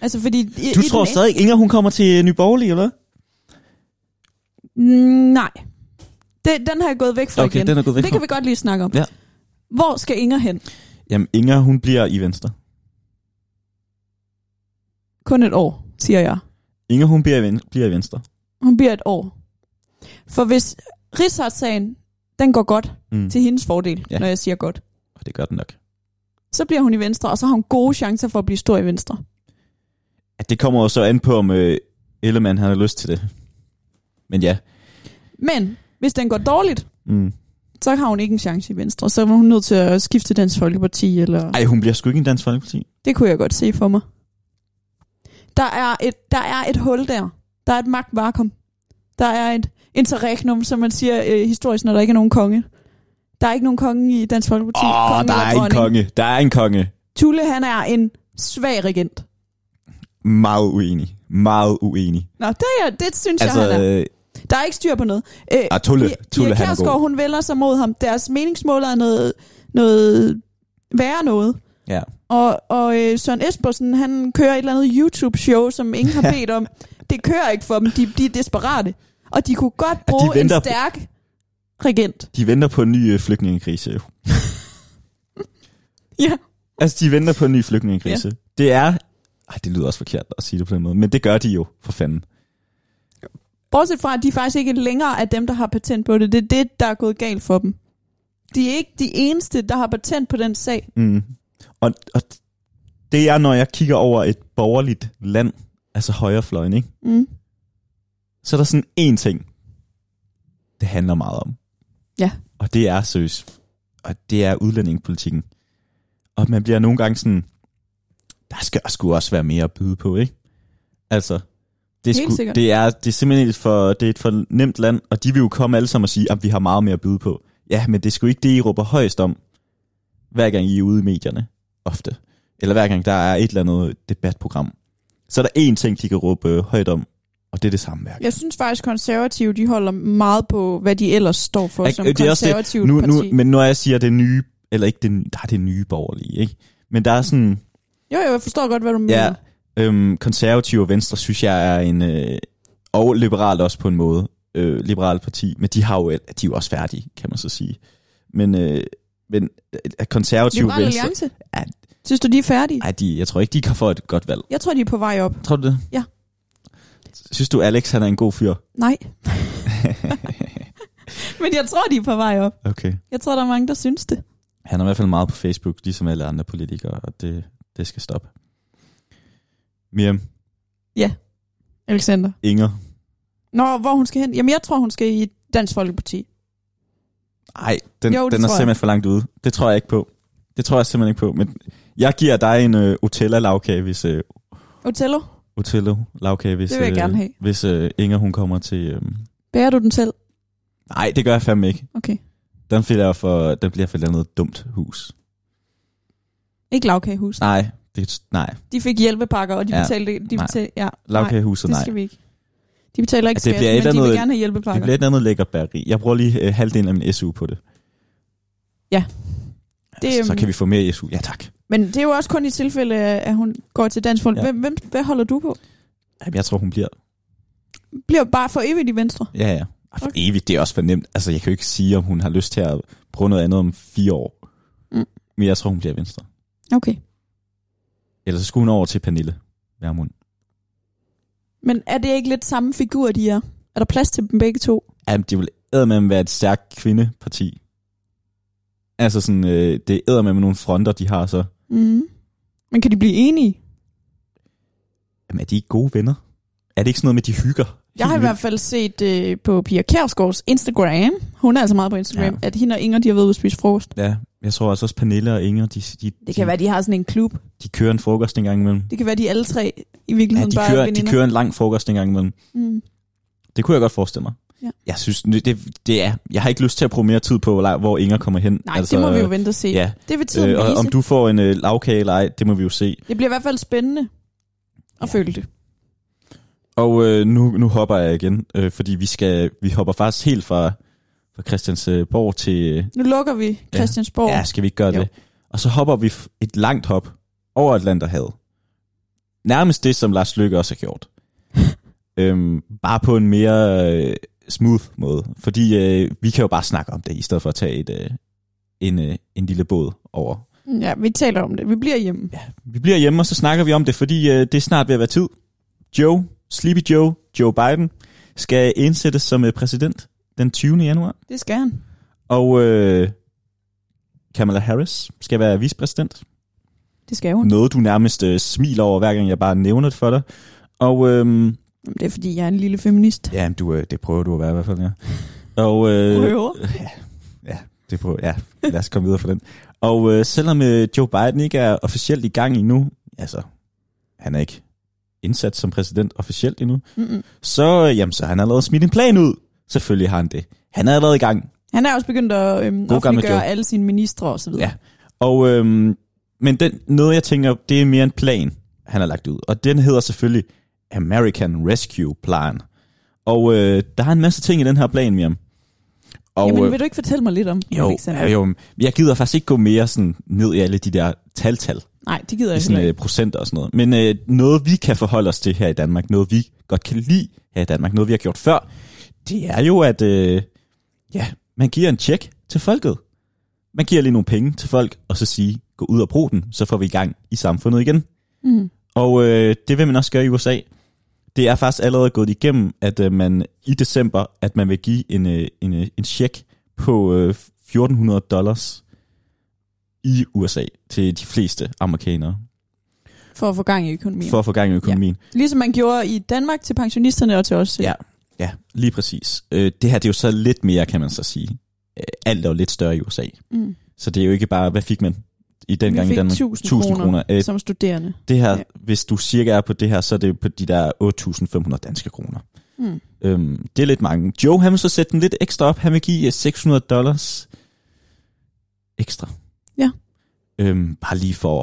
Speaker 1: Altså fordi... I,
Speaker 2: Du
Speaker 1: i
Speaker 2: tror
Speaker 1: den-
Speaker 2: stadig ikke, Inger, hun kommer til Nye Borgerlige, eller hvad?
Speaker 1: Mm, Nej. Det, den har jeg gået væk fra
Speaker 2: Okay,
Speaker 1: igen.
Speaker 2: den er gået væk
Speaker 1: det
Speaker 2: fra.
Speaker 1: kan vi godt lige snakke om.
Speaker 2: Ja.
Speaker 1: Hvor skal Inger hen?
Speaker 2: Jamen, Inger, hun bliver i Venstre.
Speaker 1: Kun et år, siger jeg.
Speaker 2: Inger, hun bliver i, ven- bliver i Venstre.
Speaker 1: Hun bliver et år. For hvis rigsretssagen, den går godt
Speaker 2: Mm.
Speaker 1: til hendes fordel,
Speaker 2: Ja.
Speaker 1: ja. når jeg siger godt,
Speaker 2: Og det gør den nok.
Speaker 1: så bliver hun i Venstre, og så har hun gode chancer for at blive stor i Venstre.
Speaker 2: At det kommer jo så an på, om øh, Ellemann han har lyst til det. Men ja.
Speaker 1: Men hvis den går dårligt,
Speaker 2: Mm.
Speaker 1: så har hun ikke en chance i Venstre. Så er hun nødt til at skifte til Dansk Folkeparti. Eller...
Speaker 2: Ej, hun bliver sgu ikke en Dansk Folkeparti.
Speaker 1: Det kunne jeg godt se for mig. Der er et, der er et hul der. Der er et magtvakuum. Der er et interregnum, som man siger øh, historisk, når der ikke er nogen konge. Der er ikke nogen konge i Dansk Folkeparti.
Speaker 2: Åh,
Speaker 1: Kongen
Speaker 2: der
Speaker 1: eller
Speaker 2: er en
Speaker 1: dronning.
Speaker 2: konge. Der er en konge.
Speaker 1: Tulle, han er en svag regent.
Speaker 2: Meget uenig. Meget uenig.
Speaker 1: Nå, det, er, det synes altså,
Speaker 2: Altså,
Speaker 1: jeg, han er.
Speaker 2: øh,
Speaker 1: Der er ikke styr på noget. Øh,
Speaker 2: ah, Tulle,
Speaker 1: Pia-
Speaker 2: Tulle
Speaker 1: Pia
Speaker 2: han er
Speaker 1: Kjærsgaard,
Speaker 2: god.
Speaker 1: hun vælger sig mod ham. Deres meningsmåler er noget, noget værre noget.
Speaker 2: Ja.
Speaker 1: Og, og øh, Søren Espersen, han kører et eller andet YouTube-show, som ingen har bedt om. Det kører ikke for dem. De, de er desperate. Og de kunne godt
Speaker 2: de
Speaker 1: bruge en
Speaker 2: venter-
Speaker 1: stærk regent.
Speaker 2: De venter på en ny øh, flygtningekrise. jo.
Speaker 1: Ja.
Speaker 2: Altså, de venter på en ny flygtningekrise. Ja. Det er... Ej, det lyder også forkert at sige det på den måde, men det gør de jo, for fanden.
Speaker 1: Bortset fra, at de faktisk ikke længere er dem, der har patent på det. Det er det, der er gået galt for dem. De er ikke de eneste, der har patent på den sag.
Speaker 2: Mm. Og, og det er, når jeg kigger over et borgerligt land, altså højrefløjen, ikke?
Speaker 1: Mm.
Speaker 2: så er der sådan én ting, det handler meget om.
Speaker 1: Ja.
Speaker 2: Og det er søs. Og det er udlændingepolitikken. Og man bliver nogle gange sådan, der skal sgu også være mere at byde på, ikke? Altså, det er,
Speaker 1: Helt
Speaker 2: sgu,
Speaker 1: sikkert.
Speaker 2: det er, det er simpelthen et for, det er et for nemt land, og de vil jo komme alle sammen og sige, at vi har meget mere at byde på. Ja, men det er sgu ikke det, I råber højst om, hver gang I er ude i medierne, ofte. Eller hver gang der er et eller andet debatprogram. Så er der én ting, de kan råbe øh, højt om, og det er det samme hver gang.
Speaker 1: Jeg synes faktisk, konservative de holder meget på, hvad de ellers står for
Speaker 2: Ja,
Speaker 1: som
Speaker 2: det er også det.
Speaker 1: konservativt
Speaker 2: nu,
Speaker 1: parti.
Speaker 2: nu, men når jeg siger det nye, eller ikke det, nye- der er det nye borgerlige, ikke? Men der er sådan,
Speaker 1: Jo, jo, jeg forstår godt, hvad du mener.
Speaker 2: ja, øhm, konservative og venstre, synes jeg er en, øh, og liberalt også på en måde, øh, liberalt parti, men de har jo, de er jo også færdige, kan man så sige. Men, øh, men øh, konservative
Speaker 1: Liberal
Speaker 2: venstre,
Speaker 1: Alliance?
Speaker 2: Ja.
Speaker 1: Synes du, de er færdige?
Speaker 2: ej, de, jeg tror ikke, de kan få et godt valg.
Speaker 1: Jeg tror, de er på vej op.
Speaker 2: Tror du det?
Speaker 1: Ja.
Speaker 2: Synes du, Alex han er en god fyr?
Speaker 1: Nej. Men jeg tror, de er på vej op.
Speaker 2: Okay.
Speaker 1: Jeg tror, der er mange, der synes det.
Speaker 2: Han er i hvert fald meget på Facebook, ligesom alle andre politikere, og det, det skal stoppe. Miriam,
Speaker 1: Alexander.
Speaker 2: Inger.
Speaker 1: Nå, hvor hun skal hen? Jamen, jeg tror, hun skal i Dansk Folkeparti.
Speaker 2: Nej, den,
Speaker 1: Jo, det
Speaker 2: den er
Speaker 1: tror jeg.
Speaker 2: simpelthen for langt ude. Det tror jeg ikke på. Det tror jeg simpelthen ikke på. Men jeg giver dig en uh, Otella-lavkage, hvis, uh,
Speaker 1: Otello,
Speaker 2: Otello-lavkage, hvis,
Speaker 1: Det vil jeg
Speaker 2: øh,
Speaker 1: gerne have.
Speaker 2: hvis uh, Inger hun kommer til... Uh...
Speaker 1: bærer du den selv?
Speaker 2: Nej, det gør jeg fandme ikke.
Speaker 1: Okay.
Speaker 2: Den bliver for, den bliver for et eller andet dumt hus.
Speaker 1: Ikke lavkagehus.
Speaker 2: Nej, det, nej.
Speaker 1: De fik hjælpepakker, og de
Speaker 2: Ja.
Speaker 1: betalte... De
Speaker 2: Nej.
Speaker 1: betalte ja, nej,
Speaker 2: Lavkagehuset,
Speaker 1: det
Speaker 2: nej.
Speaker 1: skal vi ikke. De betaler ikke
Speaker 2: Ja,
Speaker 1: skat,
Speaker 2: det bliver et
Speaker 1: men de
Speaker 2: eller
Speaker 1: vil
Speaker 2: andet-
Speaker 1: gerne have
Speaker 2: Det
Speaker 1: hjælpepakker.
Speaker 2: bliver et andet lækkert bageri. Jeg bruger lige øh, halvdelen af min SU på det.
Speaker 1: Ja.
Speaker 2: Det,
Speaker 1: Det,
Speaker 2: altså, så
Speaker 1: øhm,
Speaker 2: kan vi få mere SU. Ja, tak.
Speaker 1: Men det er jo også kun i tilfælde, af, at hun går til Dansk Folkeparti.
Speaker 2: Ja.
Speaker 1: Hvem, hvem, hvad holder du på?
Speaker 2: Jamen, jeg tror, hun bliver...
Speaker 1: Bliver bare for evigt i Venstre.
Speaker 2: Ja, ja. Og for
Speaker 1: Okay.
Speaker 2: evigt, det er også for nemt. Altså, jeg kan jo ikke sige, om hun har lyst til at prøve noget andet om fire år.
Speaker 1: Mm.
Speaker 2: Men jeg tror, hun bliver venstre.
Speaker 1: Okay.
Speaker 2: Eller så skulle hun over til Pernille Vermund.
Speaker 1: Men er det ikke lidt samme figur, de er? Er der plads til dem begge to?
Speaker 2: Jamen, det vil eddermame være et stærkt kvindeparti. Altså sådan, øh, det er eddermame nogle fronter, de har så.
Speaker 1: Mm. Men kan de blive enige?
Speaker 2: Jamen, er de ikke gode venner? Er det ikke sådan noget med, de hygger?
Speaker 1: Jeg har i
Speaker 2: Helt
Speaker 1: hvert fald set øh, på Pia Kjærsgaards Instagram, hun er altså meget på Instagram,
Speaker 2: Ja.
Speaker 1: ja. at hende og Inger, de har været ude at spise frokost.
Speaker 2: vildt? Ja, jeg tror altså også, Pernille og Inger, de, de,
Speaker 1: Det kan
Speaker 2: de,
Speaker 1: være, de har sådan en klub.
Speaker 2: de kører en frokost en gang imellem.
Speaker 1: Det kan være, de alle tre i
Speaker 2: Ja,
Speaker 1: virkeligheden
Speaker 2: de
Speaker 1: bare er
Speaker 2: kører, de
Speaker 1: veninder.
Speaker 2: kører en lang frokost en gang imellem.
Speaker 1: Mm.
Speaker 2: Det kunne jeg godt forestille mig.
Speaker 1: Ja.
Speaker 2: Jeg synes, det, det er, jeg har ikke lyst til at bruge mere tid på, hvor- hvor Inger kommer hen.
Speaker 1: Nej, altså, det må vi jo vente og se. Ja.
Speaker 2: Ja,
Speaker 1: Det vil tiden
Speaker 2: øh,
Speaker 1: øh,
Speaker 2: og
Speaker 1: vise.
Speaker 2: om du får en øh, lavkage eller ej, det må vi jo se.
Speaker 1: Det bliver i hvert fald spændende at ja.
Speaker 2: Ja.
Speaker 1: følge det.
Speaker 2: Og øh, nu, nu hopper jeg igen, øh, fordi vi skal vi hopper faktisk helt fra, fra Christiansborg til... Øh,
Speaker 1: Nu lukker vi Christiansborg.
Speaker 2: ja, skal vi ikke gøre
Speaker 1: Jo.
Speaker 2: det? Og så hopper vi f- et langt hop over Atlanterhavet. Nærmest det, som Lars Løkke også har gjort. øhm, bare på en mere øh, smooth måde. Fordi øh, vi kan jo bare snakke om det, i stedet for at tage et, øh, en, øh, en lille båd over.
Speaker 1: Mm, ja, vi taler om det. Vi bliver hjemme.
Speaker 2: Ja, vi bliver hjemme, og så snakker vi om det, fordi øh, det er snart ved at være tid. Joe, Sleepy Joe, Joe Biden, skal indsættes som øh, præsident den 20. januar.
Speaker 1: Det skal han.
Speaker 2: Og øh, Kamala Harris skal være vicepræsident.
Speaker 1: Det skal hun.
Speaker 2: Noget, du nærmest øh, smiler over, hver gang jeg bare nævner det for dig. Og øh,
Speaker 1: Jamen, Det er, fordi jeg er en lille feminist.
Speaker 2: ja, men du, øh, det prøver du at være i hvert fald, ja. Og, øh,
Speaker 1: Prøver.
Speaker 2: det prøver, ja, lad os komme videre fra den. Og øh, selvom øh, Joe Biden ikke er officielt i gang endnu, altså, han er ikke indsat som præsident officielt endnu,
Speaker 1: Mm-mm.
Speaker 2: så, øh, jamen, så har han allerede smidt en plan ud. Selvfølgelig har han det. Han er allerede i gang.
Speaker 1: Han er også begyndt at øhm,
Speaker 2: gamle
Speaker 1: offentliggøre
Speaker 2: Joe.
Speaker 1: alle sine ministre og så videre.
Speaker 2: Ja. Og, øhm, men den, noget, jeg tænker, det er mere en plan, han har lagt ud. Og den hedder selvfølgelig American Rescue Plan. Og øh, der er en masse ting i den her plan, Miriam. Og,
Speaker 1: Jamen,
Speaker 2: øh,
Speaker 1: vil du ikke fortælle mig lidt om
Speaker 2: jo,
Speaker 1: Alexander?
Speaker 2: ja, jo, men jeg gider faktisk ikke gå mere sådan ned i alle de der tal-tal,
Speaker 1: Nej, det gider
Speaker 2: i
Speaker 1: jeg
Speaker 2: sådan,
Speaker 1: ikke.
Speaker 2: øh, procenter og sådan noget. Men øh, noget, vi kan forholde os til her i Danmark, noget, vi godt kan lide her i Danmark, noget, vi har gjort før, det er jo, at øh, ja, Man giver en check til folket. Man giver lige nogle penge til folk, og så sige, gå ud og brug den, så får vi i gang i samfundet igen.
Speaker 1: Mm.
Speaker 2: Og øh, det vil man også gøre i USA. Det er faktisk allerede gået igennem, at øh, man i december, at man vil give en, øh, en, øh, en check på øh, 1400 dollars i USA til de fleste amerikanere,
Speaker 1: For at få gang i økonomien. For...
Speaker 2: for at få gang i økonomien.
Speaker 1: Ligesom man gjorde i Danmark til pensionisterne og til os.
Speaker 2: Ja. Ja, lige præcis. Øh, det her det er jo så lidt mere, kan man så sige. Øh, alt er jo lidt større i USA.
Speaker 1: Mm.
Speaker 2: Så det er jo ikke bare, hvad fik man i den
Speaker 1: vi
Speaker 2: gang i
Speaker 1: fik
Speaker 2: Danmark?
Speaker 1: 1000,
Speaker 2: 1000
Speaker 1: kroner, kroner.
Speaker 2: Øh,
Speaker 1: som studerende.
Speaker 2: det her,
Speaker 1: Ja.
Speaker 2: hvis du cirka er på det her, så er det på de der 8.500 danske kroner.
Speaker 1: Mm.
Speaker 2: Øhm, det er lidt mange. Joe, han vil så sætte den lidt ekstra op. Han vil give øh, 600 dollars ekstra.
Speaker 1: Ja.
Speaker 2: Øhm, bare lige for,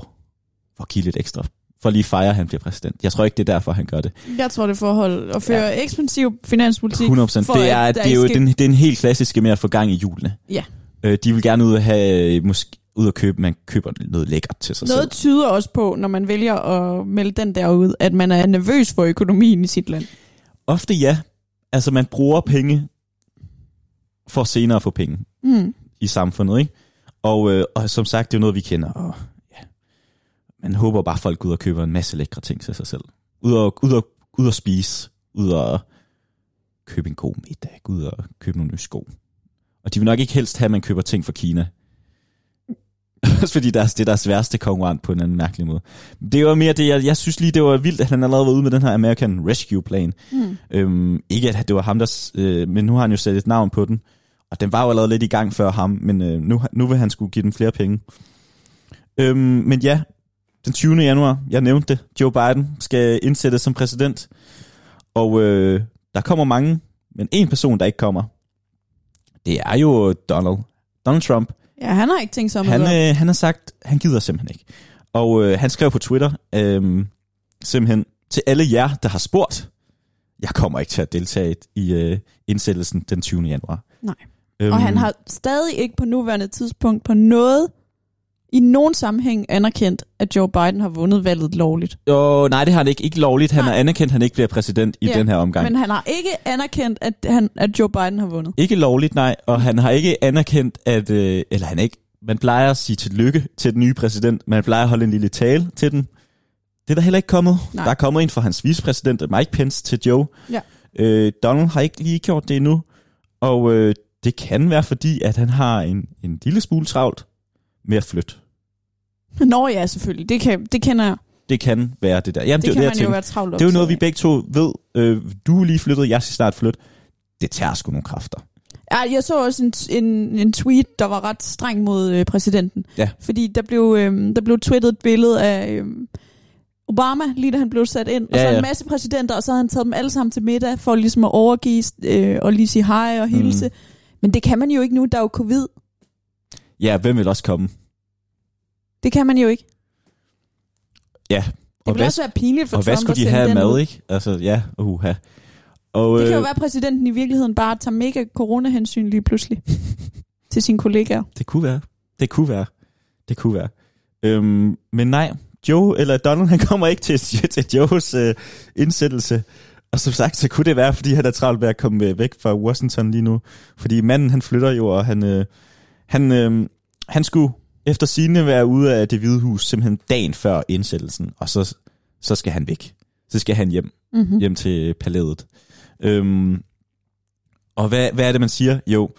Speaker 2: for at give lidt ekstra. For lige at fejre, at han bliver præsident. Jeg tror ikke, det er derfor, han gør det.
Speaker 1: Jeg tror, det er forhold at føre ja. ekspansiv finanspolitik.
Speaker 2: 100
Speaker 1: for
Speaker 2: Det er,
Speaker 1: at der
Speaker 2: det er jo
Speaker 1: ikke
Speaker 2: den, det er en helt klassiske med at få gang i julene.
Speaker 1: Ja.
Speaker 2: Øh, de vil gerne ud og have, øh, måske, ud og købe, man køber noget lækkert til sig
Speaker 1: Noget
Speaker 2: selv.
Speaker 1: tyder også på, når man vælger at melde den der ud, at man er nervøs for økonomien i sit land.
Speaker 2: Ofte ja. Altså, man bruger penge for senere at få penge.
Speaker 1: Mm.
Speaker 2: i samfundet, ikke? Og, øh, og som sagt, det er jo noget, vi kender. Og, ja. Man håber bare, at folk går ud og køber en masse lækre ting til sig selv. Ud og, ud og, ud og spise, ud og købe en god middag, ud og købe nogle nye sko. Og de vil nok ikke helst have, at man køber ting fra Kina. Også fordi deres, det er deres værste konkurrent på en eller anden mærkelig måde. Det var mere det, jeg, jeg synes lige, det var vildt, at han allerede var ude med den her American Rescue Plan.
Speaker 1: Mm.
Speaker 2: Øhm, ikke at det var ham, der... s- Øh, men nu har han jo sat et navn på den. Og den var jo allerede lidt i gang før ham, men øh, nu, nu vil han skulle give dem flere penge. Øhm, men ja, den 20. januar, jeg nævnte det, Joe Biden skal indsættes som præsident. Og øh, der kommer mange, men en person, der ikke kommer, det er jo Donald. Donald Trump.
Speaker 1: Ja, han har ikke tænkt sig om
Speaker 2: Han,
Speaker 1: at gøre.
Speaker 2: øh, han har sagt, han gider simpelthen ikke. Og øh, han skrev på Twitter, øh, simpelthen, til alle jer, der har spurgt, jeg kommer ikke til at deltage i øh, indsættelsen den 20. januar.
Speaker 1: Nej.
Speaker 2: Øhm,
Speaker 1: Og han har stadig ikke på nuværende tidspunkt på noget i nogen sammenhæng anerkendt, at Joe Biden har vundet valget lovligt.
Speaker 2: Jo, nej, det har han ikke. Ikke lovligt. Han
Speaker 1: Nej.
Speaker 2: har anerkendt, at han ikke bliver præsident i
Speaker 1: Ja,
Speaker 2: den her omgang.
Speaker 1: Men
Speaker 2: Men...
Speaker 1: han har ikke anerkendt, at, han, at Joe Biden har vundet.
Speaker 2: Ikke lovligt, nej. Og han har ikke anerkendt, at... Øh, eller han er ikke... Man plejer at sige tillykke til den nye præsident. Man plejer at holde en lille tale til den. Det er der heller ikke kommet.
Speaker 1: Nej.
Speaker 2: Der er kommet en fra hans vicepræsident, Mike Pence, til Joe.
Speaker 1: Ja.
Speaker 2: Øh, Donald har ikke lige gjort det endnu. Og øh, det kan være fordi, at han har en, en lille smule travlt med at flytte.
Speaker 1: Nå ja, selvfølgelig. Det, kan, det kender jeg.
Speaker 2: Det kan være det der. Jamen,
Speaker 1: Det, det
Speaker 2: var
Speaker 1: kan
Speaker 2: jeg
Speaker 1: man jo
Speaker 2: tænkte.
Speaker 1: være travlt
Speaker 2: Det er jo noget, vi
Speaker 1: optaget
Speaker 2: begge to ved. Øh, du er lige flyttet, jeg skal snart flytte. Det tager sgu nogle kræfter.
Speaker 1: Ja, jeg så også en, en, en tweet, der var ret streng mod øh, præsidenten.
Speaker 2: Ja.
Speaker 1: Fordi der blev, øh, der blev twittet et billede af øh, Obama, lige da han blev sat ind. Og
Speaker 2: Ja,
Speaker 1: så
Speaker 2: ja.
Speaker 1: en masse præsidenter, og så havde han taget dem alle sammen til middag, for ligesom at overgive øh, og lige sige hej og hilse. Mm. Men det kan man jo ikke nu, der er jo covid.
Speaker 2: Ja, hvem vil også komme?
Speaker 1: Det kan man jo ikke. Det
Speaker 2: Og
Speaker 1: ville
Speaker 2: hvad,
Speaker 1: også være pinligt for
Speaker 2: og
Speaker 1: Trump
Speaker 2: hvad skulle
Speaker 1: at
Speaker 2: de
Speaker 1: sende
Speaker 2: have af
Speaker 1: den ud.
Speaker 2: mad, ikke? Altså, ja, uha. Og,
Speaker 1: Det kan jo
Speaker 2: øh,
Speaker 1: være, at præsidenten i virkeligheden bare tager mega coronahensyn lige pludselig til sine kollegaer.
Speaker 2: det kunne være. Det kunne være. Det kunne være. Øhm, men nej, Joe eller Donald, han kommer ikke til, til Joes øh, indsættelse. Og som sagt, så kunne det være, fordi han er travlt med at komme øh, væk fra Washington lige nu. Fordi manden, han flytter jo, og han, øh, han, øh, han skulle efter sine være ude af det hvide hus simpelthen dagen før indsættelsen. Og så, så skal han væk. Så skal han hjem.
Speaker 1: Mm-hmm.
Speaker 2: hjem til palæet. Øhm, og hvad, hvad er det, man siger? Jo,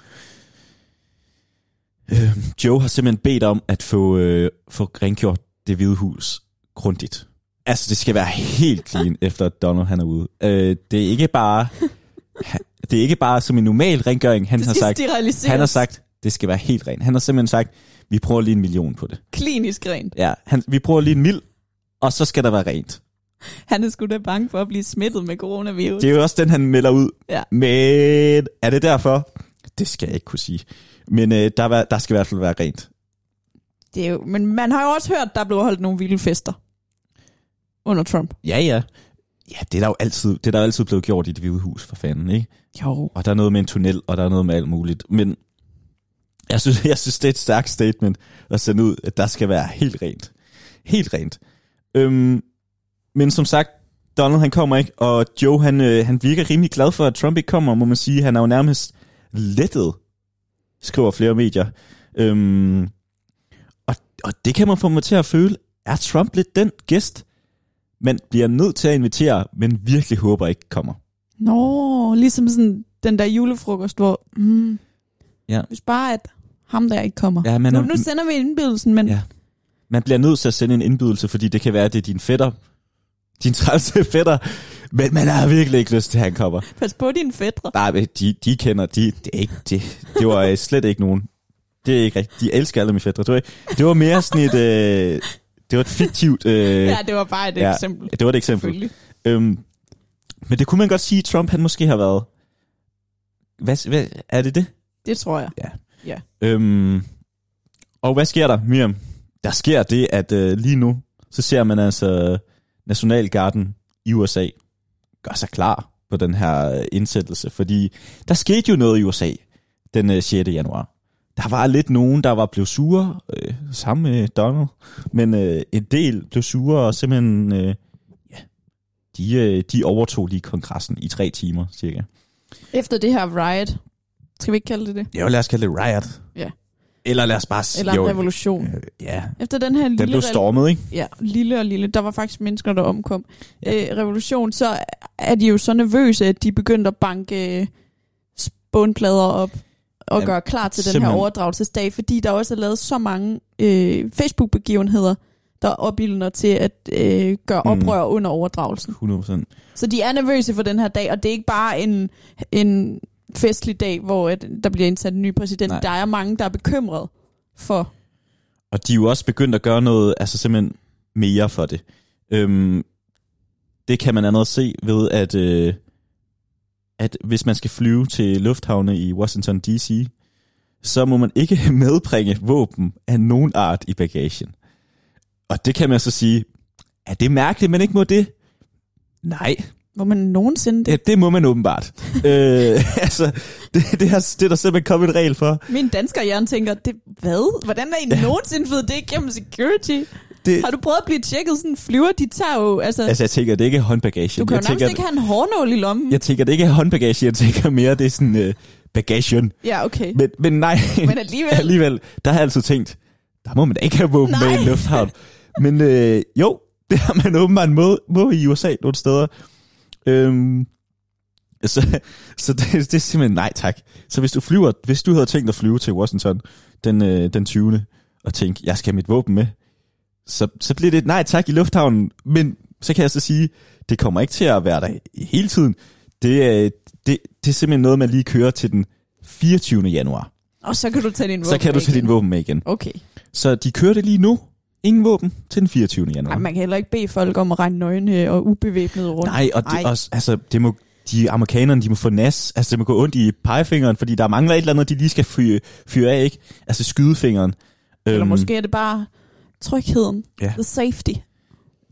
Speaker 2: øhm, Joe har simpelthen bedt om at få, øh, få rengjort det hvide hus grundigt. Altså, det skal være helt clean, efter at Donald han er ude. Øh, det er ikke bare... han- Det er ikke bare som en normal rengøring, han har sagt. Han har sagt, det skal være helt rent. Han har simpelthen sagt, vi bruger lige en million på det.
Speaker 1: klinisk rent.
Speaker 2: Ja, han, vi bruger lige en mil, og så skal der være rent.
Speaker 1: Han er sgu da bange for at blive smittet med coronavirus.
Speaker 2: Det er jo også den, han melder ud.
Speaker 1: Ja.
Speaker 2: Men er det derfor? Det skal jeg ikke kunne sige. Men øh, der, var- der skal i hvert fald være rent.
Speaker 1: Det er jo, men man har jo også hørt, der blev holdt nogle vilde fester under Trump.
Speaker 2: Ja, ja. Ja, det er der jo altid, det er der jo altid blevet gjort i det hvide hus, for fanden, ikke?
Speaker 1: Jo.
Speaker 2: Og der er noget med en tunnel, og der er noget med alt muligt. Men jeg synes, jeg synes det er et stærkt statement at sende ud, at der skal være helt rent. Helt rent. Øhm, men som sagt, Donald han kommer ikke, og Joe han, øh, han virker rimelig glad for, at Trump ikke kommer, må man sige. Han er jo nærmest lettet skriver flere medier. Øhm, og, og det kan man få mig til at føle, er Trump lidt den gæst, man bliver nødt til at invitere, men virkelig håber ikke kommer.
Speaker 1: Nå, ligesom sådan den der julefrokost, hvor... Mm,
Speaker 2: Ja.
Speaker 1: Hvis bare at ham der ikke kommer.
Speaker 2: Ja, man,
Speaker 1: nu,
Speaker 2: er,
Speaker 1: nu sender vi indbydelsen, men...
Speaker 2: Ja. man bliver nødt til at sende en indbydelse, fordi det kan være, at det er din fætter, din trælse fætter, men man har virkelig ikke lyst til, at han kommer.
Speaker 1: Pas på dine fædre.
Speaker 2: Nej, men de, de kender, de, det er ikke, det, det var øh, slet ikke nogen. Det er ikke rigtigt. De elsker alle mine fædre. Det var, det var mere sådan et, øh, det var et fiktivt, øh,
Speaker 1: Ja,
Speaker 2: ja,
Speaker 1: det var bare et
Speaker 2: ja.
Speaker 1: ja. eksempel.
Speaker 2: det var et eksempel.
Speaker 1: Selvfølgelig.
Speaker 2: Øhm, men det kunne man godt sige, at Trump han måske har været. Hvad, hvad er det det?
Speaker 1: Det tror jeg.
Speaker 2: Øhm, og hvad sker der, Miriam? Der sker det, at øh, lige nu, så ser man altså Nationalgarden i USA gør sig klar på den her øh, indsættelse, fordi der skete jo noget i USA den øh, 6. januar. Der var lidt nogen, der var blevet sure, øh, sammen med Donald, men øh, en del blev sure, og simpelthen, øh, ja, de, øh, de overtog lige kongressen i tre timer, cirka.
Speaker 1: Efter det her riot, skal vi ikke kalde det det?
Speaker 2: Ja, lad os kalde det riot.
Speaker 1: Ja.
Speaker 2: Eller lad os bare sige...
Speaker 1: Eller en revolution.
Speaker 2: øh, Ja,
Speaker 1: Efter den her lille,
Speaker 2: Den blev stormet, ikke?
Speaker 1: ja, lille og lille, der var faktisk mennesker, der omkom, ja. øh, revolution, så er de jo så nervøse, at de begyndte at banke øh, spånplader op og
Speaker 2: Ja,
Speaker 1: gøre klar til den her
Speaker 2: simpelthen.
Speaker 1: overdragelsesdag, fordi der også er lavet så mange øh, Facebook-begivenheder, der opildner til at øh, gøre
Speaker 2: Mm.
Speaker 1: oprør under overdragelsen.
Speaker 2: 100%.
Speaker 1: Så de er nervøse for den her dag, og det er ikke bare en, en festlig dag, hvor at der bliver indsat en ny præsident.
Speaker 2: Nej.
Speaker 1: Nej. Der er mange, der er bekymrede for
Speaker 2: Og de er jo også begyndt at gøre noget, altså simpelthen mere for det. Øhm, det kan man andet se ved, at, øh, at hvis man skal flyve til lufthavne i Washington D.C., så må man ikke medbringe våben af nogen art i bagagen. Og det kan man så sige, er det mærkeligt, man ikke må det? Nej,
Speaker 1: Hvor man nogensinde det.
Speaker 2: det, det må man åbenbart. øh, altså, det, det, er, det er der simpelthen kommet en regel for.
Speaker 1: Min dansker hjerne tænker, det, hvad? Hvordan er I ja. nogensinde fået det igennem security?
Speaker 2: Det,
Speaker 1: Har du prøvet at blive tjekket sådan en flyver? De tager jo, altså, altså
Speaker 2: Altså, jeg tænker, det er ikke håndbagage.
Speaker 1: du kan jo
Speaker 2: jeg,
Speaker 1: nærmest
Speaker 2: tænker,
Speaker 1: ikke have en hårnål i lommen. Ja,
Speaker 2: jeg tænker, det ikke er håndbagage, jeg tænker mere, det er sådan øh, bagagen.
Speaker 1: ja okay. Men,
Speaker 2: Men, men nej,
Speaker 1: Men alligevel,
Speaker 2: alligevel, der har jeg altid tænkt, der må man da ikke have våben med i en
Speaker 1: Nej.
Speaker 2: lufthavn. Men øh, jo, det har man åbenbart må, må i USA nogle steder. Øhm, så så det, det er simpelthen nej tak. Så hvis du flyver, hvis du havde tænkt at flyve til Washington den, øh, den 20. og tænke, jeg skal have mit våben med, så, så bliver det et nej tak i lufthavnen. Men så kan jeg så sige, det kommer ikke til at være der hele tiden. Det, øh, det, det er simpelthen noget, man lige kører til den 24. januar
Speaker 1: og så kan du tage din våben
Speaker 2: så kan du tage
Speaker 1: med
Speaker 2: dine
Speaker 1: igen.
Speaker 2: våben med igen.
Speaker 1: Okay.
Speaker 2: Så de kører det lige nu. Ingen våben til den 24. januar.
Speaker 1: Ej, man kan heller ikke bede folk om at regne nøgne øh, og ubevæbnede rundt.
Speaker 2: Nej, og det,
Speaker 1: Ej.
Speaker 2: også, altså, det må, de amerikanerne, de må få nas, altså det må gå ondt i pegefingeren, fordi der mangler et eller andet, de lige skal fyre, fyre af, ikke? Altså skydefingeren.
Speaker 1: Eller
Speaker 2: Øhm,
Speaker 1: måske er det bare trygheden.
Speaker 2: Ja.
Speaker 1: The safety.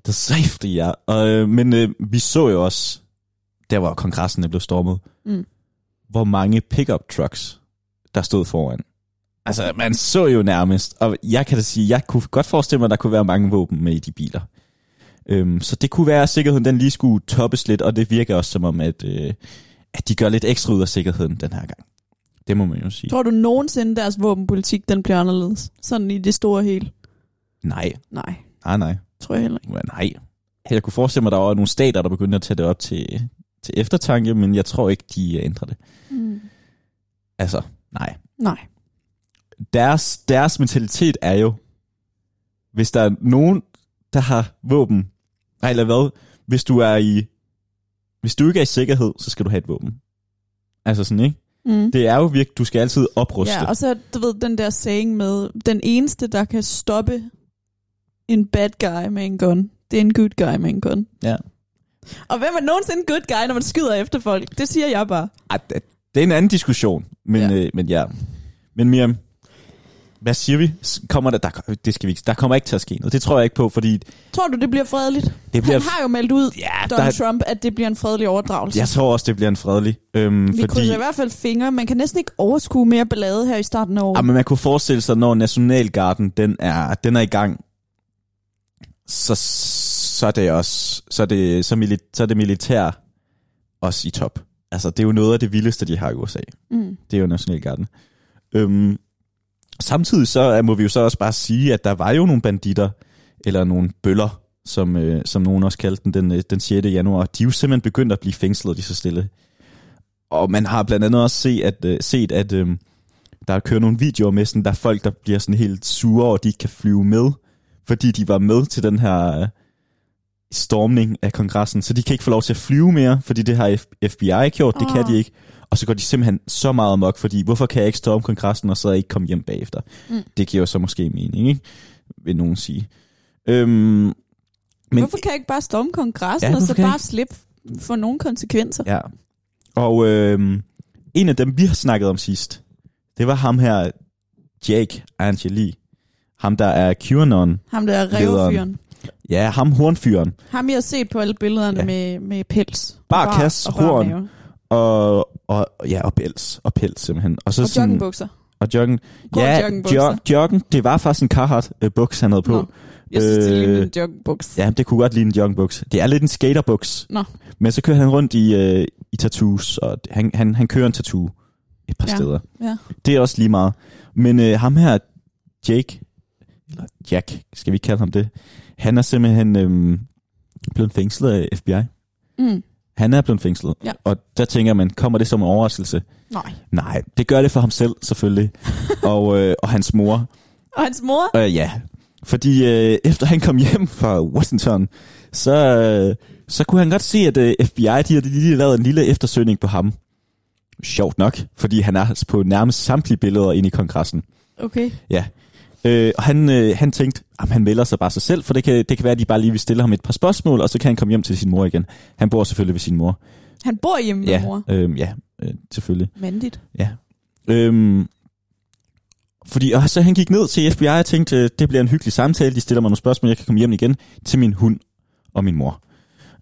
Speaker 2: The safety, ja. Og, øh, men øh, vi så jo også, der hvor kongressen blev stormet,
Speaker 1: Mm.
Speaker 2: hvor mange pickup trucks, der stod foran. Altså, man så jo nærmest, og jeg kan da sige, jeg kunne godt forestille mig, at der kunne være mange våben med i de biler. Øhm, så det kunne være, at sikkerheden den lige skulle toppes lidt, og det virker også som om, at, øh, at de gør lidt ekstra ud af sikkerheden den her gang. Det må man jo sige.
Speaker 1: Tror du nogensinde deres våbenpolitik, den bliver anderledes? Sådan i det store hele?
Speaker 2: Nej, Ah,
Speaker 1: Nej,
Speaker 2: nej, nej.
Speaker 1: tror jeg heller ikke.
Speaker 2: Ja, nej. Jeg kunne forestille mig, at der var nogle stater, der begyndte at tage det op til, til eftertanke, men jeg tror ikke, de øh, ændrer det.
Speaker 1: Mm.
Speaker 2: Altså, nej.
Speaker 1: Nej.
Speaker 2: Deres, deres mentalitet er jo, hvis der er nogen, der har våben, nej, eller hvad, hvis du er i, hvis du ikke er i sikkerhed, så skal du have et våben. Altså sådan, ikke?
Speaker 1: Mm.
Speaker 2: Det er jo virkelig, du skal altid opruste.
Speaker 1: Ja, og så, du ved, den der saying med, den eneste, der kan stoppe en bad guy med en gun, det er en good guy med en gun.
Speaker 2: Ja.
Speaker 1: Og hvem er nogensinde en good guy, når man skyder efter folk? Det siger jeg bare.
Speaker 2: Ej, det- det er en anden diskussion, men ja.
Speaker 1: Ja.
Speaker 2: Øh, men, ja. men Miriam, hvad siger vi? S- Kommer der, der, det skal vi ikke, der kommer ikke til at ske noget. Det tror jeg ikke på, fordi
Speaker 1: Tror du, det bliver fredeligt?
Speaker 2: det bliver...
Speaker 1: Han har jo meldt ud,
Speaker 2: ja,
Speaker 1: Donald
Speaker 2: der,
Speaker 1: Trump, at det bliver en fredelig overdragelse.
Speaker 2: jeg tror også, det bliver en fredelig. Øhm,
Speaker 1: Vi
Speaker 2: fordi,
Speaker 1: krydser i hvert fald fingre. Man kan næsten ikke overskue mere ballade her i starten af året.
Speaker 2: ja, Ah, men man kunne forestille sig, når Nationalgarden den er, den er i gang, så, så er det også, så er det, så, mili, så er det militær også i top. Altså, det er jo noget af det vildeste, de har i USA.
Speaker 1: Mm.
Speaker 2: Det er jo Nationalgarden. Øhm, samtidig så øh, må vi jo så også bare sige, at der var jo nogle banditter, eller nogle bøller, som, øh, som nogen også kaldte den, den, øh, den 6. januar. De er jo simpelthen begyndt at blive fængslet lige så stille. Og man har blandt andet også set, at, øh, set, at øh, der kører nogle videoer med, sådan, der er folk, der bliver sådan helt sure over, at de ikke kan flyve med, fordi de var med til den her øh, stormning af kongressen. Så de kan ikke få lov til at flyve mere, fordi det har F- FBI gjort, det kan
Speaker 1: Åh.
Speaker 2: de ikke. Og så går de simpelthen så meget amok, fordi hvorfor kan jeg ikke storme kongressen, og så ikke komme hjem bagefter?
Speaker 1: Mm.
Speaker 2: Mm. Det giver jo så måske mening, ikke? vil nogen sige. Øhm,
Speaker 1: Men, Hvorfor kan jeg ikke bare storme kongressen,
Speaker 2: Ja,
Speaker 1: ja, og så
Speaker 2: hvorfor kan jeg
Speaker 1: bare slippe for nogle konsekvenser?
Speaker 2: Ja. Og øh, en af dem, vi har snakket om sidst, det var ham her, Jake Angeli. Ham, der er QAnon.
Speaker 1: Ham der revfyren.
Speaker 2: Ja, ham hornfyren.
Speaker 1: Ham jeg har set på alle billederne
Speaker 2: Ja.
Speaker 1: ja. med, med pels. og
Speaker 2: Bar kasse,
Speaker 1: og bar
Speaker 2: horn.
Speaker 1: mave.
Speaker 2: Og, og, ja, og pels. Og pels, simpelthen. Og, så
Speaker 1: Og joggingbukser.
Speaker 2: Og joggen.
Speaker 1: Grå
Speaker 2: ja,
Speaker 1: joggingbukser.
Speaker 2: jo- joggen. Det var faktisk en Carhartt øh, buks, han havde på.
Speaker 1: Nå, Jeg synes, det
Speaker 2: Øh,
Speaker 1: ligner en joggingbuks.
Speaker 2: Ja, det kunne godt ligne en joggingbuks. Det er lidt en skaterbuks.
Speaker 1: Nå.
Speaker 2: Men så kører han rundt i, øh, i tattoos, og han, han, han kører en tattoo et par
Speaker 1: Ja,
Speaker 2: steder.
Speaker 1: ja.
Speaker 2: Det er også lige meget. Men øh, ham her, Jake, eller Jack, skal vi kalde ham det, han er simpelthen øh, blevet fængslet af FBI.
Speaker 1: Mm.
Speaker 2: Han er blevet fængslet.
Speaker 1: Ja.
Speaker 2: Og der tænker man, kommer det som en overraskelse?
Speaker 1: Nej.
Speaker 2: Nej, det gør det for ham selv, selvfølgelig. og, øh, og hans mor.
Speaker 1: Og hans mor?
Speaker 2: Øh, ja, fordi øh, efter han kom hjem fra Washington, så, øh, så kunne han godt se, at øh, FBI de havde lige lavet en lille eftersøgning på ham. Sjovt nok, fordi han er på nærmest samtlige billeder inde i kongressen.
Speaker 1: Okay.
Speaker 2: Øh, og han, øh, han tænkte, at han melder sig bare sig selv, for det kan, det kan være, at de bare lige vil stille ham et par spørgsmål, og så kan han komme hjem til sin mor igen. Han bor selvfølgelig ved sin mor.
Speaker 1: Han bor hjemme med
Speaker 2: ja,
Speaker 1: mor.
Speaker 2: Øh, ja øh, selvfølgelig.
Speaker 1: Mandigt.
Speaker 2: Øhm, fordi, og så han gik ned til FBI og tænkte, øh, det bliver en hyggelig samtale, de stiller mig nogle spørgsmål, jeg kan komme hjem igen til min hund og min mor.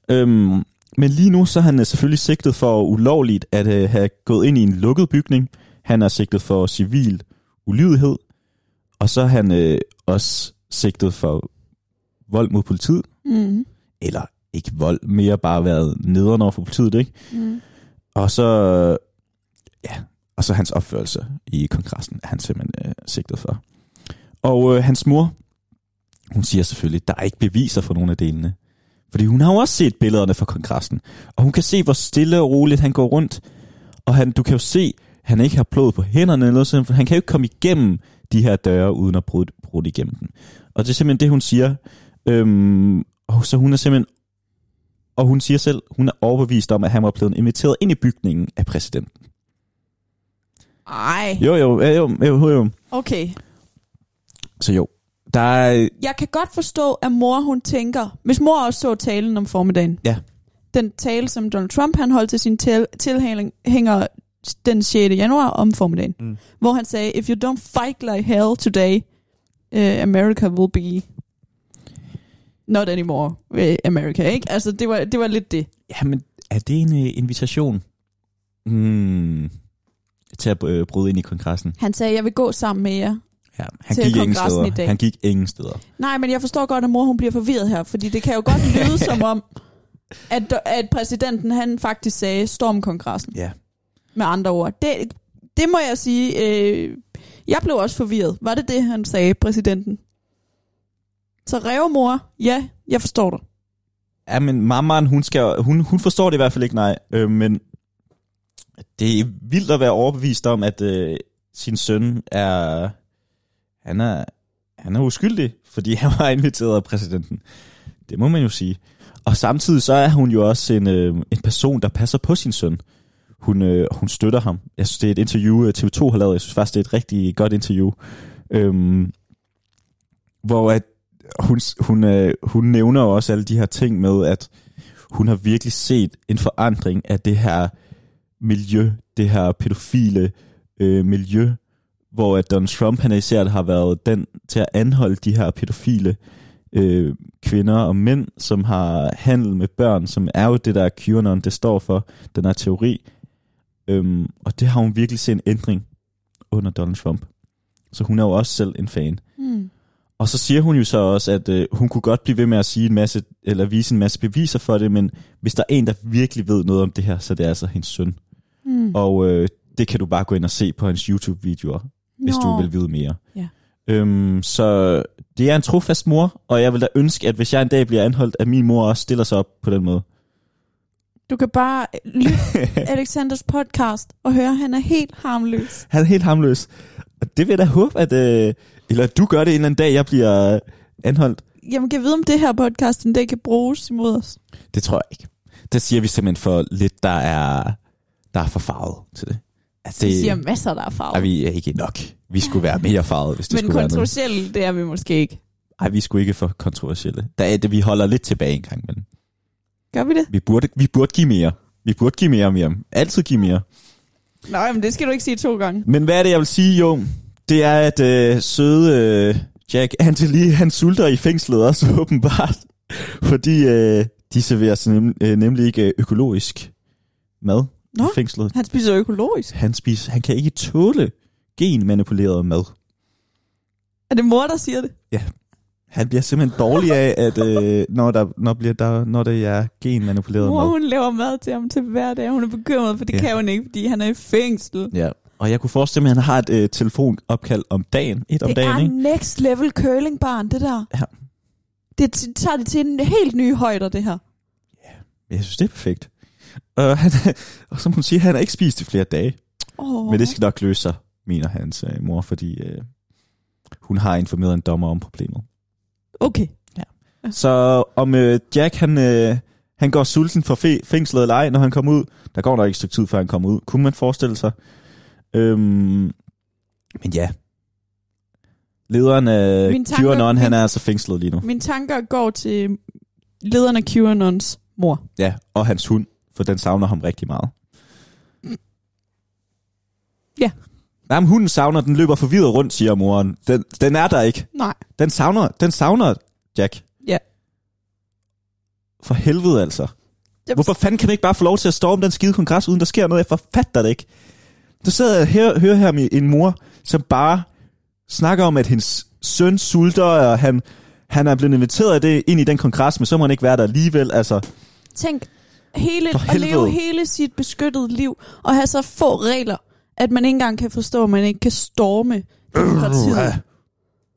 Speaker 2: Øhm, men lige nu så er han øh, selvfølgelig sigtet for ulovligt at øh, have gået ind i en lukket bygning. Han er sigtet for civil ulydighed, og så er han øh, også sigtet for vold mod politiet,
Speaker 1: Mm.
Speaker 2: eller ikke vold, mere bare været nederen over for politiet, ikke?
Speaker 1: Mm.
Speaker 2: Og så, ja, og så hans opførelse i kongressen er han simpelthen øh, sigtet for. Og øh, hans mor, hun siger selvfølgelig, der er ikke beviser for nogen af delene. Fordi hun har jo også set billederne fra kongressen. Og hun kan se, hvor stille og roligt han går rundt. Og han, du kan jo se, han ikke har blod på hænderne eller noget sådan, for han kan jo ikke komme igennem de her døre, uden at brudt, brudt igennem den. Og det er simpelthen det, hun siger. Øhm, og så hun er simpelthen og hun siger selv, hun er overbevist om, at han var blevet inviteret ind i bygningen af præsidenten.
Speaker 1: Ej.
Speaker 2: Jo, jo, ja, jo, jo, jo, jo.
Speaker 1: Okay.
Speaker 2: Så jo, der er,
Speaker 1: Jeg kan godt forstå, at mor hun tænker, hvis mor også så talen om formiddagen.
Speaker 2: Ja.
Speaker 1: Den tale, som Donald Trump han holdt til sin til- tilhænger den 6. januar om formiddagen.
Speaker 2: Mm.
Speaker 1: Mm. Hvor han sagde, if you don't fight like hell today, uh, America will be not anymore uh, America. Ikke? Altså, det var, det var lidt det.
Speaker 2: jamen, er det en øh, invitation hmm, til at øh, bryde ind i kongressen?
Speaker 1: Han sagde, jeg vil gå sammen med jer.
Speaker 2: Ja, han
Speaker 1: Til
Speaker 2: gik ingen
Speaker 1: kongressen i
Speaker 2: steder.
Speaker 1: dag.
Speaker 2: Han gik ingen steder.
Speaker 1: Nej, men jeg forstår godt, at mor hun bliver forvirret her, fordi det kan jo godt lyde som om, at, at præsidenten han faktisk sagde, storm kongressen.
Speaker 2: Ja.
Speaker 1: Med andre ord. Det, det må jeg sige, øh, jeg blev også forvirret. Var det det, han sagde, præsidenten? Så revmor, ja, jeg forstår dig.
Speaker 2: Ja, men mammaen, hun, skal, hun, hun forstår det i hvert fald ikke, nej. Øh, men det er vildt at være overbevist om, at øh, sin søn er han, er... han er uskyldig, fordi han var inviteret af præsidenten. Det må man jo sige. Og samtidig så er hun jo også en, øh, en person, der passer på sin søn. Hun, øh, hun støtter ham. Jeg synes, det er et interview, øh, TV2 har lavet. Jeg synes faktisk, det er et rigtig godt interview. Øhm, hvor at hun, hun, øh, hun nævner jo også alle de her ting med, at hun har virkelig set en forandring af det her miljø, det her pædofile øh, miljø, hvor at Donald Trump han især har været den til at anholde de her pædofile øh, kvinder og mænd, som har handel med børn, som er jo det der QAnon, det står for, den her teori. Øhm, og det har hun virkelig set en ændring under Donald Trump. Så hun er jo også selv en fan.
Speaker 1: Hmm.
Speaker 2: Og så siger hun jo så også, at øh, hun kunne godt blive ved med at sige en masse, eller vise en masse beviser for det, men hvis der er en, der virkelig ved noget om det her, så er det altså hendes søn.
Speaker 1: Hmm.
Speaker 2: Og øh, det kan du bare gå ind og se på hans YouTube-videoer. hvis
Speaker 1: Nå.
Speaker 2: du vil vide mere.
Speaker 1: Ja.
Speaker 2: Øhm, så det er en trofast mor, og jeg vil da ønske, at hvis jeg en dag bliver anholdt, at min mor også stiller sig op på den måde.
Speaker 1: Du kan bare lytte Alexanders podcast og høre, at han er helt harmløs.
Speaker 2: Han er helt hamløs. Og det vil jeg da håbe, at... Øh, eller at du gør det en eller anden dag, jeg bliver øh, anholdt.
Speaker 1: Jamen, kan jeg vide, om det her podcast en dag kan bruges imod os?
Speaker 2: Det tror jeg ikke. Det siger vi simpelthen for lidt, der er, der er for farvet til det. Altså,
Speaker 1: Det siger masser, der er
Speaker 2: er
Speaker 1: farve.
Speaker 2: vi ikke nok. Vi skulle være mere farvet, hvis det
Speaker 1: Men
Speaker 2: skulle være noget.
Speaker 1: kontroversielle, det er vi måske ikke.
Speaker 2: Nej, vi skulle ikke for kontroversielle. Der er det, vi holder lidt tilbage en gang, men
Speaker 1: Gør vi det?
Speaker 2: vi burde, vi burde give mere. Vi burde give mere, Miriam. Altid give mere.
Speaker 1: Nå, jamen, det skal du ikke sige to gange.
Speaker 2: Men hvad er det, jeg vil sige, jo? Det er, at øh, søde øh, Jack Anthony, han sulter i fængslet også åbenbart, fordi øh, de serverer sig nem, øh, nemlig ikke øh, økologisk mad
Speaker 1: Nå.
Speaker 2: i fængslet.
Speaker 1: Han spiser økologisk.
Speaker 2: Han, spiser, han kan ikke tåle genmanipuleret mad.
Speaker 1: Er det mor, der siger det?
Speaker 2: Han bliver simpelthen dårlig af, at øh, når, der, når, bliver der, når det er genmanipuleret
Speaker 1: Mor,
Speaker 2: mad.
Speaker 1: hun laver mad til ham til hver dag. Hun er bekymret, for det
Speaker 2: Ja.
Speaker 1: ja. kan hun ikke, fordi han er i fængsel.
Speaker 2: Ja. Og jeg kunne forestille mig, at han har et øh, telefonopkald om dagen. Et om
Speaker 1: det
Speaker 2: dagen,
Speaker 1: er
Speaker 2: ikke?
Speaker 1: next level curlingbarn, det der.
Speaker 2: Ja.
Speaker 1: Det t- tager det til en helt ny højder, det her.
Speaker 2: Jeg synes, det er perfekt. Og, han, og som hun siger, han har ikke spist i flere dage.
Speaker 1: Oh.
Speaker 2: Men det skal nok løse sig, mener hans øh, mor, fordi øh, hun har informeret en dommer om problemet.
Speaker 1: Okay.
Speaker 2: Så om øh, Jack, han, øh, han går sulten for fe- fængslet eller ej, når han kommer ud. Der går nok ikke et stykke tid, før han kommer ud. Kunne man forestille sig. Øhm, men ja. Lederen af
Speaker 1: Min tanke-
Speaker 2: QAnon, han
Speaker 1: min-
Speaker 2: er altså fængslet lige nu.
Speaker 1: Mine tanker går til lederen af QAnons mor.
Speaker 2: Ja, og hans hund, for den savner ham rigtig meget.
Speaker 1: Ja.
Speaker 2: Jamen, hunden savner, den løber forvirret rundt, siger moren. Den, den er der ikke.
Speaker 1: Nej.
Speaker 2: Den savner, den savner Jack.
Speaker 1: Ja.
Speaker 2: For helvede altså.
Speaker 1: Jeg-
Speaker 2: Hvorfor fanden kan man ikke bare få lov til at storme den skide kongres, uden der sker noget? Jeg forfatter det ikke. Du sidder jeg og hører, hører her med en mor, som bare snakker om, at hendes søn sulter, og han, han er blevet inviteret af det ind i den kongres, men så må han ikke være der alligevel. Altså,
Speaker 1: Tænk, hele,
Speaker 2: For
Speaker 1: at leve
Speaker 2: helvede.
Speaker 1: hele sit beskyttede liv, og have så få regler, at man ikke engang kan forstå, at man ikke kan storme demokratiet.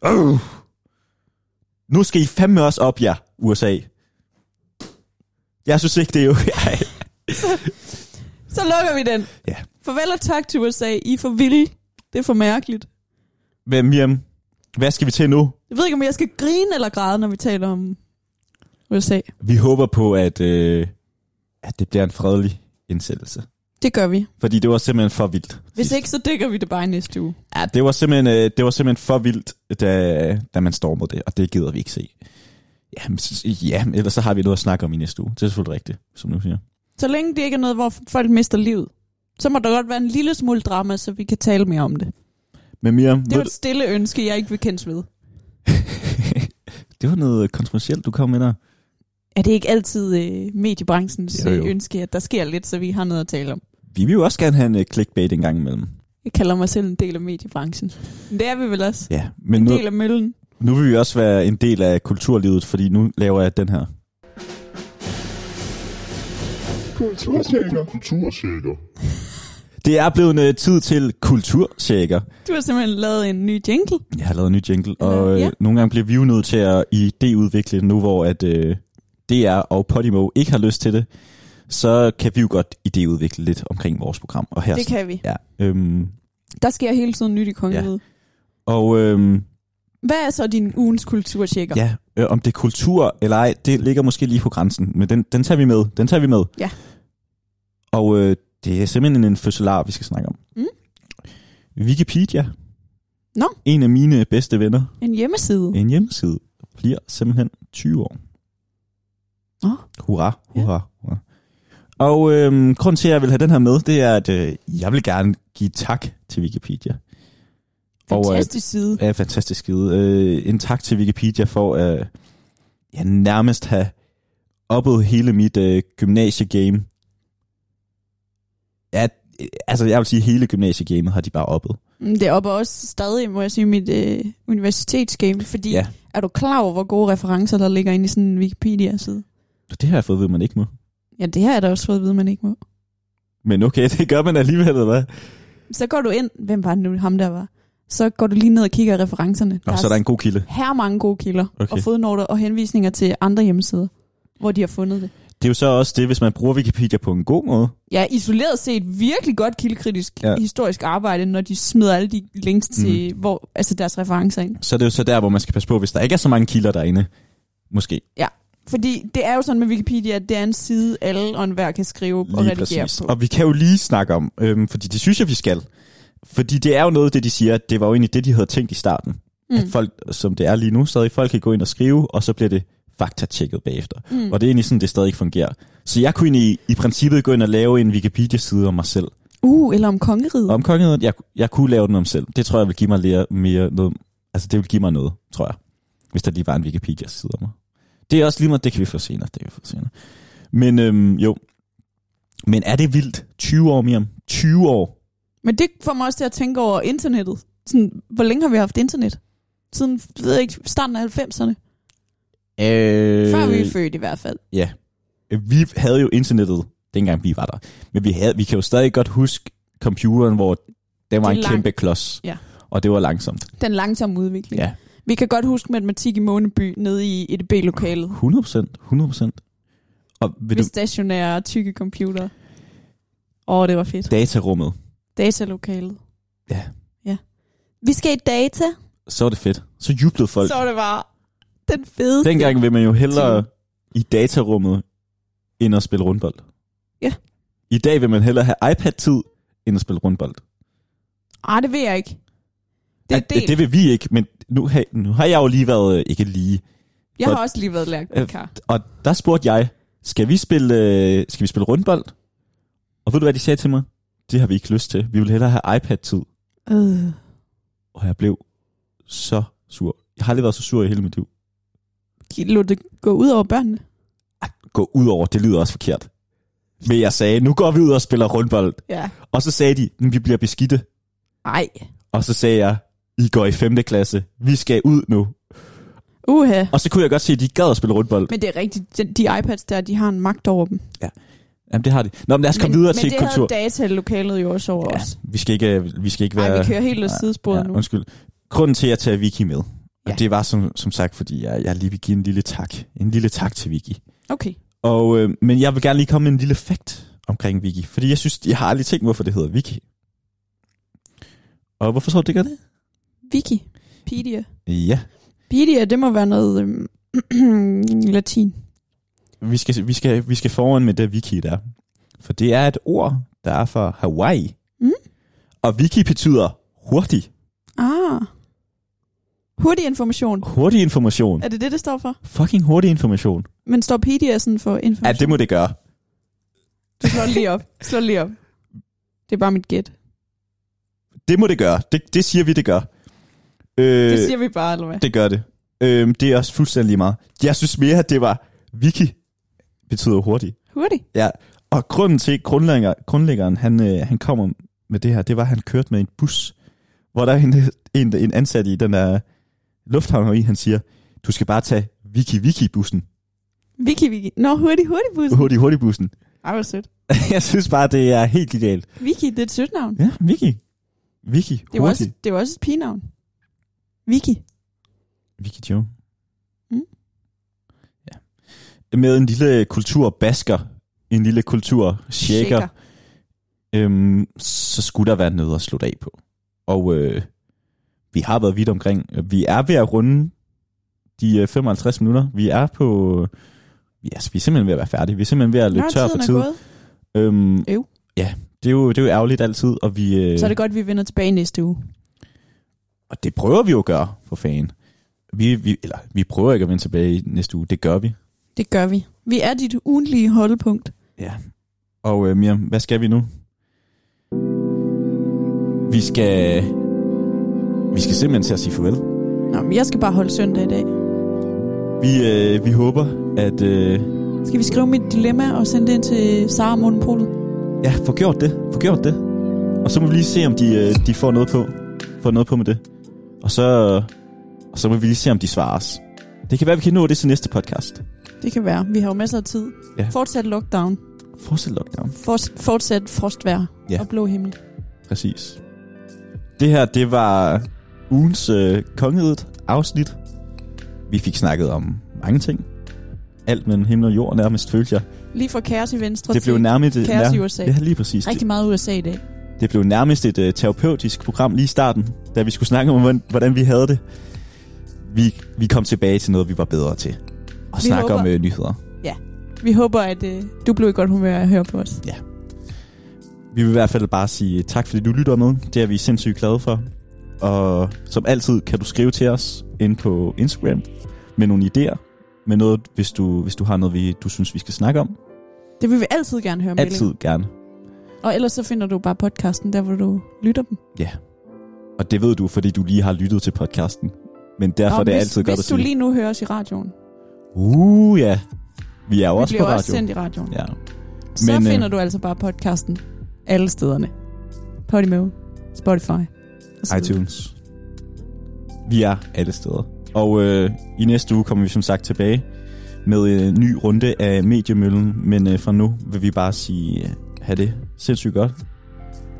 Speaker 2: uh. Nu skal I fandme også op, jer, USA. Jeg synes ikke, det er jo... Ej.
Speaker 1: Så lukker vi den.
Speaker 2: Ja.
Speaker 1: Farvel og tak til USA. I er for vilde. Det er for mærkeligt.
Speaker 2: Hvad, Miriam, hvad skal vi til nu?
Speaker 1: Jeg ved ikke, om jeg skal grine eller græde, når vi taler om USA.
Speaker 2: Vi håber på, at, øh, at det bliver en fredelig indsættelse.
Speaker 1: Det gør vi.
Speaker 2: Fordi det var simpelthen for vildt.
Speaker 1: Hvis
Speaker 2: sidst.
Speaker 1: ikke, så dækker vi det bare i næste uge.
Speaker 2: Ja, det var simpelthen, øh, det var simpelthen for vildt, da, da man stormede det, og det gider vi ikke se. Jamen, s- ja, men ellers så har vi noget at snakke om i næste uge. Det er selvfølgelig rigtigt, som du siger.
Speaker 1: Så længe det ikke er noget, hvor folk mister livet, så må der godt være en lille smule drama, så vi kan tale mere om det.
Speaker 2: Men Miriam,
Speaker 1: Det er jo
Speaker 2: ved
Speaker 1: et stille ønske, jeg ikke vil kendes ved.
Speaker 2: du- det var noget kontroversielt, du kom med der.
Speaker 1: Er det ikke altid øh, mediebranchens
Speaker 2: Jo,
Speaker 1: jo,
Speaker 2: jo.
Speaker 1: jo. ønske, at der sker lidt, så vi har noget at tale om?
Speaker 2: Vi vil jo også gerne have en øh, clickbait en gang imellem.
Speaker 1: Jeg kalder mig selv en del af mediebranchen. Men det er vi vel også.
Speaker 2: Ja, men
Speaker 1: En
Speaker 2: nu,
Speaker 1: del af møllen.
Speaker 2: nu vil vi også være en del af kulturlivet, fordi nu laver jeg den her.
Speaker 3: Kulturtjekker. Kulturtjekker.
Speaker 2: Det er blevet en øh, tid til kulturtjekker.
Speaker 1: Du har simpelthen lavet en ny jingle.
Speaker 2: Jeg har lavet en ny jingle, og øh,
Speaker 1: Ja.
Speaker 2: nogle gange bliver vi jo nødt til at idéudvikle den nu, hvor at, øh, DR og Podimo ikke har lyst til det. Så kan vi jo godt idéudvikle lidt omkring vores program. Og her,
Speaker 1: Det kan vi.
Speaker 2: Ja, øhm,
Speaker 1: Der sker hele tiden nyt i kongeriget. Ja.
Speaker 2: og øhm,
Speaker 1: Hvad er så din ugens kulturtjekker?
Speaker 2: ja, øh, om det er kultur eller ej, det ligger måske lige på grænsen, men den, den tager vi med. Den tager vi med.
Speaker 1: Ja.
Speaker 2: Og øh, det er simpelthen en fødselar, vi skal snakke om.
Speaker 1: Mm.
Speaker 2: Wikipedia.
Speaker 1: Nå.
Speaker 2: En af mine bedste venner.
Speaker 1: En hjemmeside.
Speaker 2: En hjemmeside bliver simpelthen 20 år.
Speaker 1: Nå.
Speaker 2: Hurra,
Speaker 1: Ja.
Speaker 2: hurra, hurra. Og øhm, grunden til, at jeg vil have den her med, det er, at øh, jeg vil gerne give tak til Wikipedia. Og, øh,
Speaker 1: Fantastisk side.
Speaker 2: Ja, fantastisk skide. Øh, en tak til Wikipedia for at øh, ja, nærmest have oppet hele mit øh, gymnasiegame. Ja, øh, altså jeg vil sige, hele gymnasiegamet har de bare oppet.
Speaker 1: Mm, Det er oppe også stadig, må jeg sige, mit øh, universitetsgame. Fordi
Speaker 2: Ja.
Speaker 1: ja. er du klar over, hvor gode referencer, der ligger inde i sådan en Wikipedia-side?
Speaker 2: Det har jeg fået ved, man ikke må.
Speaker 1: Ja, det her er da også fået at vide, man ikke må.
Speaker 2: Men okay, det gør man alligevel, eller hvad?
Speaker 1: Så går du ind. Hvem var det nu, ham der var? så går du lige ned og kigger i referencerne.
Speaker 2: Nå, så er der en god kilde.
Speaker 1: her mange gode kilder okay.
Speaker 2: Okay.
Speaker 1: og fodnoter og henvisninger til andre hjemmesider, hvor de har fundet det.
Speaker 2: Det er jo så også det, hvis man bruger Wikipedia på en god måde.
Speaker 1: Ja, isoleret set virkelig godt kildekritisk ja.
Speaker 2: Ja. Mhm.
Speaker 1: historisk arbejde, når de smider alle de links til mm. hvor, altså deres referencer ind.
Speaker 2: Så er det jo så der, hvor man skal passe på, hvis der ikke er så mange kilder derinde. Måske.
Speaker 1: Fordi det er jo sådan med Wikipedia, at det er en side, alle og enhver kan skrive og redigere på.
Speaker 2: Og vi kan jo lige snakke om, øhm, fordi det synes jeg, vi skal. Fordi det er jo noget af det, de siger, at det var jo egentlig det, de havde tænkt i starten. Mm. At folk, som det er lige nu, stadig folk kan gå ind og skrive, og så bliver det faktatjekket bagefter. Mm. Og det er egentlig sådan, det stadig ikke fungerer. Så jeg kunne egentlig i, i princippet gå ind og lave en Wikipedia-side om mig selv.
Speaker 1: Uh, eller om kongeriget.
Speaker 2: Om kongeriget, jeg, jeg kunne lave den om selv. Det tror jeg vil give mig mere, mere noget. Altså det vil give mig noget, tror jeg. Hvis der lige var en Wikipedia-side om mig. Det er også lige meget, det kan vi få senere. Det kan vi få senere. Men øhm, jo. Men er det vildt? 20 år, Miriam. 20 år.
Speaker 1: Men det får mig også til at tænke over internettet. Sådan, hvor længe har vi haft internet? Siden, ved jeg ikke, starten af 90'erne.
Speaker 2: Øh,
Speaker 1: Før vi er født i hvert fald.
Speaker 2: Ja. Vi havde jo internettet, dengang vi var der. Men vi, havde, vi kan jo stadig godt huske computeren, hvor den var
Speaker 1: Det er
Speaker 2: en
Speaker 1: langt.
Speaker 2: kæmpe klods.
Speaker 1: Ja.
Speaker 2: Og det var langsomt.
Speaker 1: Den langsomme udvikling.
Speaker 2: Ja.
Speaker 1: Vi kan godt huske matematik i Måneby nede i EDB-lokalet.
Speaker 2: 100 procent. 100 procent. Og vil
Speaker 1: Med
Speaker 2: du,
Speaker 1: stationære tykke computer. Åh, oh, det var fedt.
Speaker 2: datarummet.
Speaker 1: Datalokalet.
Speaker 2: Ja.
Speaker 1: Ja. Vi skal i data.
Speaker 2: så var det fedt. Så jublede folk.
Speaker 1: Så
Speaker 2: Så...
Speaker 1: er det bare den fedeste.
Speaker 2: Dengang vil man jo hellere i datarummet, end at spille rundbold.
Speaker 1: Ja.
Speaker 2: I dag vil man hellere have iPad-tid, end at spille rundbold.
Speaker 1: Ah, det ved jeg ikke. Det er
Speaker 2: At- at
Speaker 1: det.
Speaker 2: det vil vi ikke, men nu, har- nu har jeg jo lige været øh, ikke lige.
Speaker 1: Jeg har også lige været lært
Speaker 2: Øh,
Speaker 1: kar.
Speaker 2: Og der spurgte jeg, skal vi spille, øh, skal vi spille rundbold? Og ved du, hvad de sagde til mig? Det har vi ikke lyst til. Vi vil hellere have iPad-tid.
Speaker 1: Øh.
Speaker 2: Og jeg blev så sur. Jeg har aldrig været så sur i hele mit liv.
Speaker 1: De Lod det gå ud over børnene?
Speaker 2: Ej, Gå ud over, det lyder også forkert. Men jeg sagde, nu går vi ud og spiller rundbold.
Speaker 1: Ja.
Speaker 2: Og så sagde de, "Men vi bliver beskidte.
Speaker 1: Ej.
Speaker 2: Og så sagde jeg, I går i 5. klasse. Vi skal ud nu.
Speaker 1: Uha.
Speaker 2: Og så kunne jeg godt se, at de gad at spille rundbold.
Speaker 1: Men det er rigtigt. De, de iPads der, de har en magt over dem.
Speaker 2: Jamen, det har de. Nå, men lad os komme
Speaker 1: men,
Speaker 2: videre
Speaker 1: men
Speaker 2: til
Speaker 1: det
Speaker 2: kultur.
Speaker 1: havde datalokalet jo også over ja.
Speaker 2: Ja,
Speaker 1: os.
Speaker 2: vi skal ikke, øh, vi skal ikke
Speaker 1: Nej,
Speaker 2: være...
Speaker 1: vi kører helt af
Speaker 2: Ja,
Speaker 1: sidesporet nu.
Speaker 2: Undskyld. Grunden til, at jeg tager Vicky med, og
Speaker 1: Ja.
Speaker 2: det var som, som sagt, fordi jeg, jeg lige vil give en lille tak. En lille tak til Vicky.
Speaker 1: Okay.
Speaker 2: Og, øh, men jeg vil gerne lige komme med en lille fakt omkring Vicky. Fordi jeg synes, jeg har aldrig tænkt, hvorfor det hedder Vicky. Og hvorfor tror du, det gør det?
Speaker 1: Wiki. Pedia.
Speaker 2: Ja,
Speaker 1: Pedia, det må være noget øhm, latin.
Speaker 2: vi skal, vi skal, vi skal foran med det wiki der. For det er et ord, der er fra Hawaii.
Speaker 1: Mm.
Speaker 2: Og wiki betyder hurtig.
Speaker 1: Ah. Hurtig information.
Speaker 2: Hurtig information.
Speaker 1: Er det det, det står for?
Speaker 2: Fucking hurtig information.
Speaker 1: Men står Pedia sådan for
Speaker 2: Ja,
Speaker 1: information?
Speaker 2: det må det gøre.
Speaker 1: Du slår lige op. Slå lige op. Det er bare mit gæt.
Speaker 2: Det må det gøre. Det, det siger vi, det gør. Øh,
Speaker 1: Det
Speaker 2: det,
Speaker 1: siger vi bare, eller hvad?
Speaker 2: det gør det. Øh, det er også fuldstændig lige meget. Jeg synes mere, at det var wiki betyder hurtig.
Speaker 1: Hurtig.
Speaker 2: Ja, og grunden til, at grundlægger, grundlæggeren han, øh, han kommer med det her, det var, at han kørte med en bus, hvor der er en, en, en ansat i den der lufthavn heri, han siger, du skal bare tage Viki Viki bussen,
Speaker 1: Wiki, wiki. Nå, hurtig, hurtig bus.
Speaker 2: hurtig hurtig bussen.
Speaker 1: Ej, hvor sødt.
Speaker 2: Jeg synes bare, det er helt idealt.
Speaker 1: Wiki, det er et sødt navn.
Speaker 2: Ja, Viki. Viki,
Speaker 1: Det var, også,
Speaker 2: hurtig.
Speaker 1: det var også et pigenavn. Wiki.
Speaker 2: Vicky Joe.
Speaker 1: Mm.
Speaker 2: Ja. Med en lille kulturbasker, en lille kultur shaker, øhm, så skulle der være noget at slutte af på. Og øh, vi har været vidt omkring. Vi er ved at runde de øh, 55 minutter. Vi er på... øh, Ja, altså, vi er simpelthen ved at være færdige. Vi er simpelthen ved at løbe
Speaker 1: Nå,
Speaker 2: tør for
Speaker 1: tiden er
Speaker 2: tid.
Speaker 1: gået.
Speaker 2: Øhm,
Speaker 1: Øv.
Speaker 2: Ja, det er, jo, det er jo ærgerligt altid, og vi... Øh,
Speaker 1: Så er det godt, vi vender tilbage næste uge.
Speaker 2: Og det prøver vi jo at gøre, for fanden. Vi, vi, eller, vi prøver ikke at vende tilbage i næste uge. Det gør vi.
Speaker 1: Det gør vi. Vi er dit ugenlige holdepunkt.
Speaker 2: Ja. Og øh, Miriam, hvad skal vi nu? Vi skal... Vi skal simpelthen til at sige farvel.
Speaker 1: Nå, men jeg skal bare holde søndag i dag.
Speaker 2: Vi, øh, vi håber, at... Øh,
Speaker 1: Skal vi skrive mit dilemma og sende det ind til Sara Monopolet?
Speaker 2: ja, få gjort det. Få gjort det. Og så må vi lige se, om de, øh, de får noget på. Får noget på med det. Og så... Og så må vi lige se, om de svarer os. Det kan være, vi kan nå det til næste podcast.
Speaker 1: Det kan være. Vi har jo masser af tid.
Speaker 2: Ja.
Speaker 1: Fortsat lockdown.
Speaker 2: Fortsæt lockdown.
Speaker 1: For, fortsat frostvær
Speaker 2: Ja.
Speaker 1: og blå himmel.
Speaker 2: Præcis. Det her, det var ugens øh, kongedet afsnit. Vi fik snakket om mange ting. Alt mellem himmel og jord nærmest, følte jeg.
Speaker 1: Lige fra kaos i venstre
Speaker 2: Det blev
Speaker 1: til
Speaker 2: nærmest...
Speaker 1: kaos i USA.
Speaker 2: Det er lige præcis. Det,
Speaker 1: rigtig meget USA i dag.
Speaker 2: det blev nærmest et øh, terapeutisk program lige i starten, da vi skulle snakke om, hvordan, hvordan vi havde det. Vi, vi kom tilbage til noget, vi var bedre til. Og
Speaker 1: Vi
Speaker 2: snakke om
Speaker 1: håber-
Speaker 2: øh, nyheder.
Speaker 1: Vi håber, at øh, du blev i godt humør af at høre på os.
Speaker 2: Vi vil i hvert fald bare sige øh, tak, fordi du lytter med. Det er vi sindssygt glade for. Og som altid kan du skrive til os ind på Instagram med nogle idéer. Med noget, hvis du, hvis du har noget, vi, du synes, vi skal snakke om.
Speaker 1: Det vil vi altid gerne høre meldinger.
Speaker 2: Altid gerne.
Speaker 1: Og ellers så finder du bare podcasten, der hvor du lytter dem.
Speaker 2: Og det ved du, fordi du lige har lyttet til podcasten. Men derfor
Speaker 1: Og
Speaker 2: er det
Speaker 1: hvis,
Speaker 2: altid godt
Speaker 1: Hvis
Speaker 2: at
Speaker 1: du
Speaker 2: sige.
Speaker 1: lige nu hører os i radioen,
Speaker 2: Uh, ja. Vi er jo
Speaker 1: vi
Speaker 2: også på
Speaker 1: bliver
Speaker 2: radio.
Speaker 1: også sendt i radioen, ja.
Speaker 2: Ja.
Speaker 1: så
Speaker 2: Men, øh,
Speaker 1: finder du altså bare podcasten alle stederne. Podimo, Spotify. og så videre.
Speaker 2: iTunes. Vi er alle steder. Og øh, i næste uge kommer vi som sagt tilbage med en ny runde af Mediemøllen, men øh, fra nu vil vi bare sige, øh, have det sindssygt godt.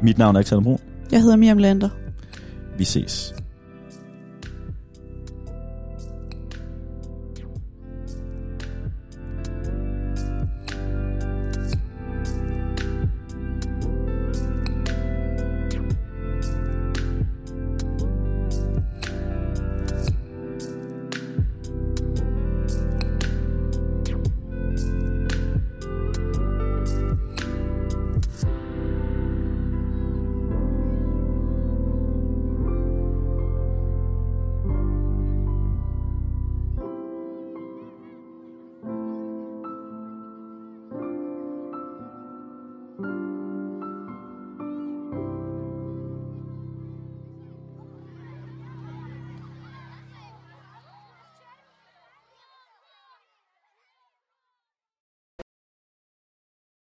Speaker 2: Mit navn er Alexander Brun.
Speaker 1: Jeg hedder Miriam Lander.
Speaker 2: Vi ses.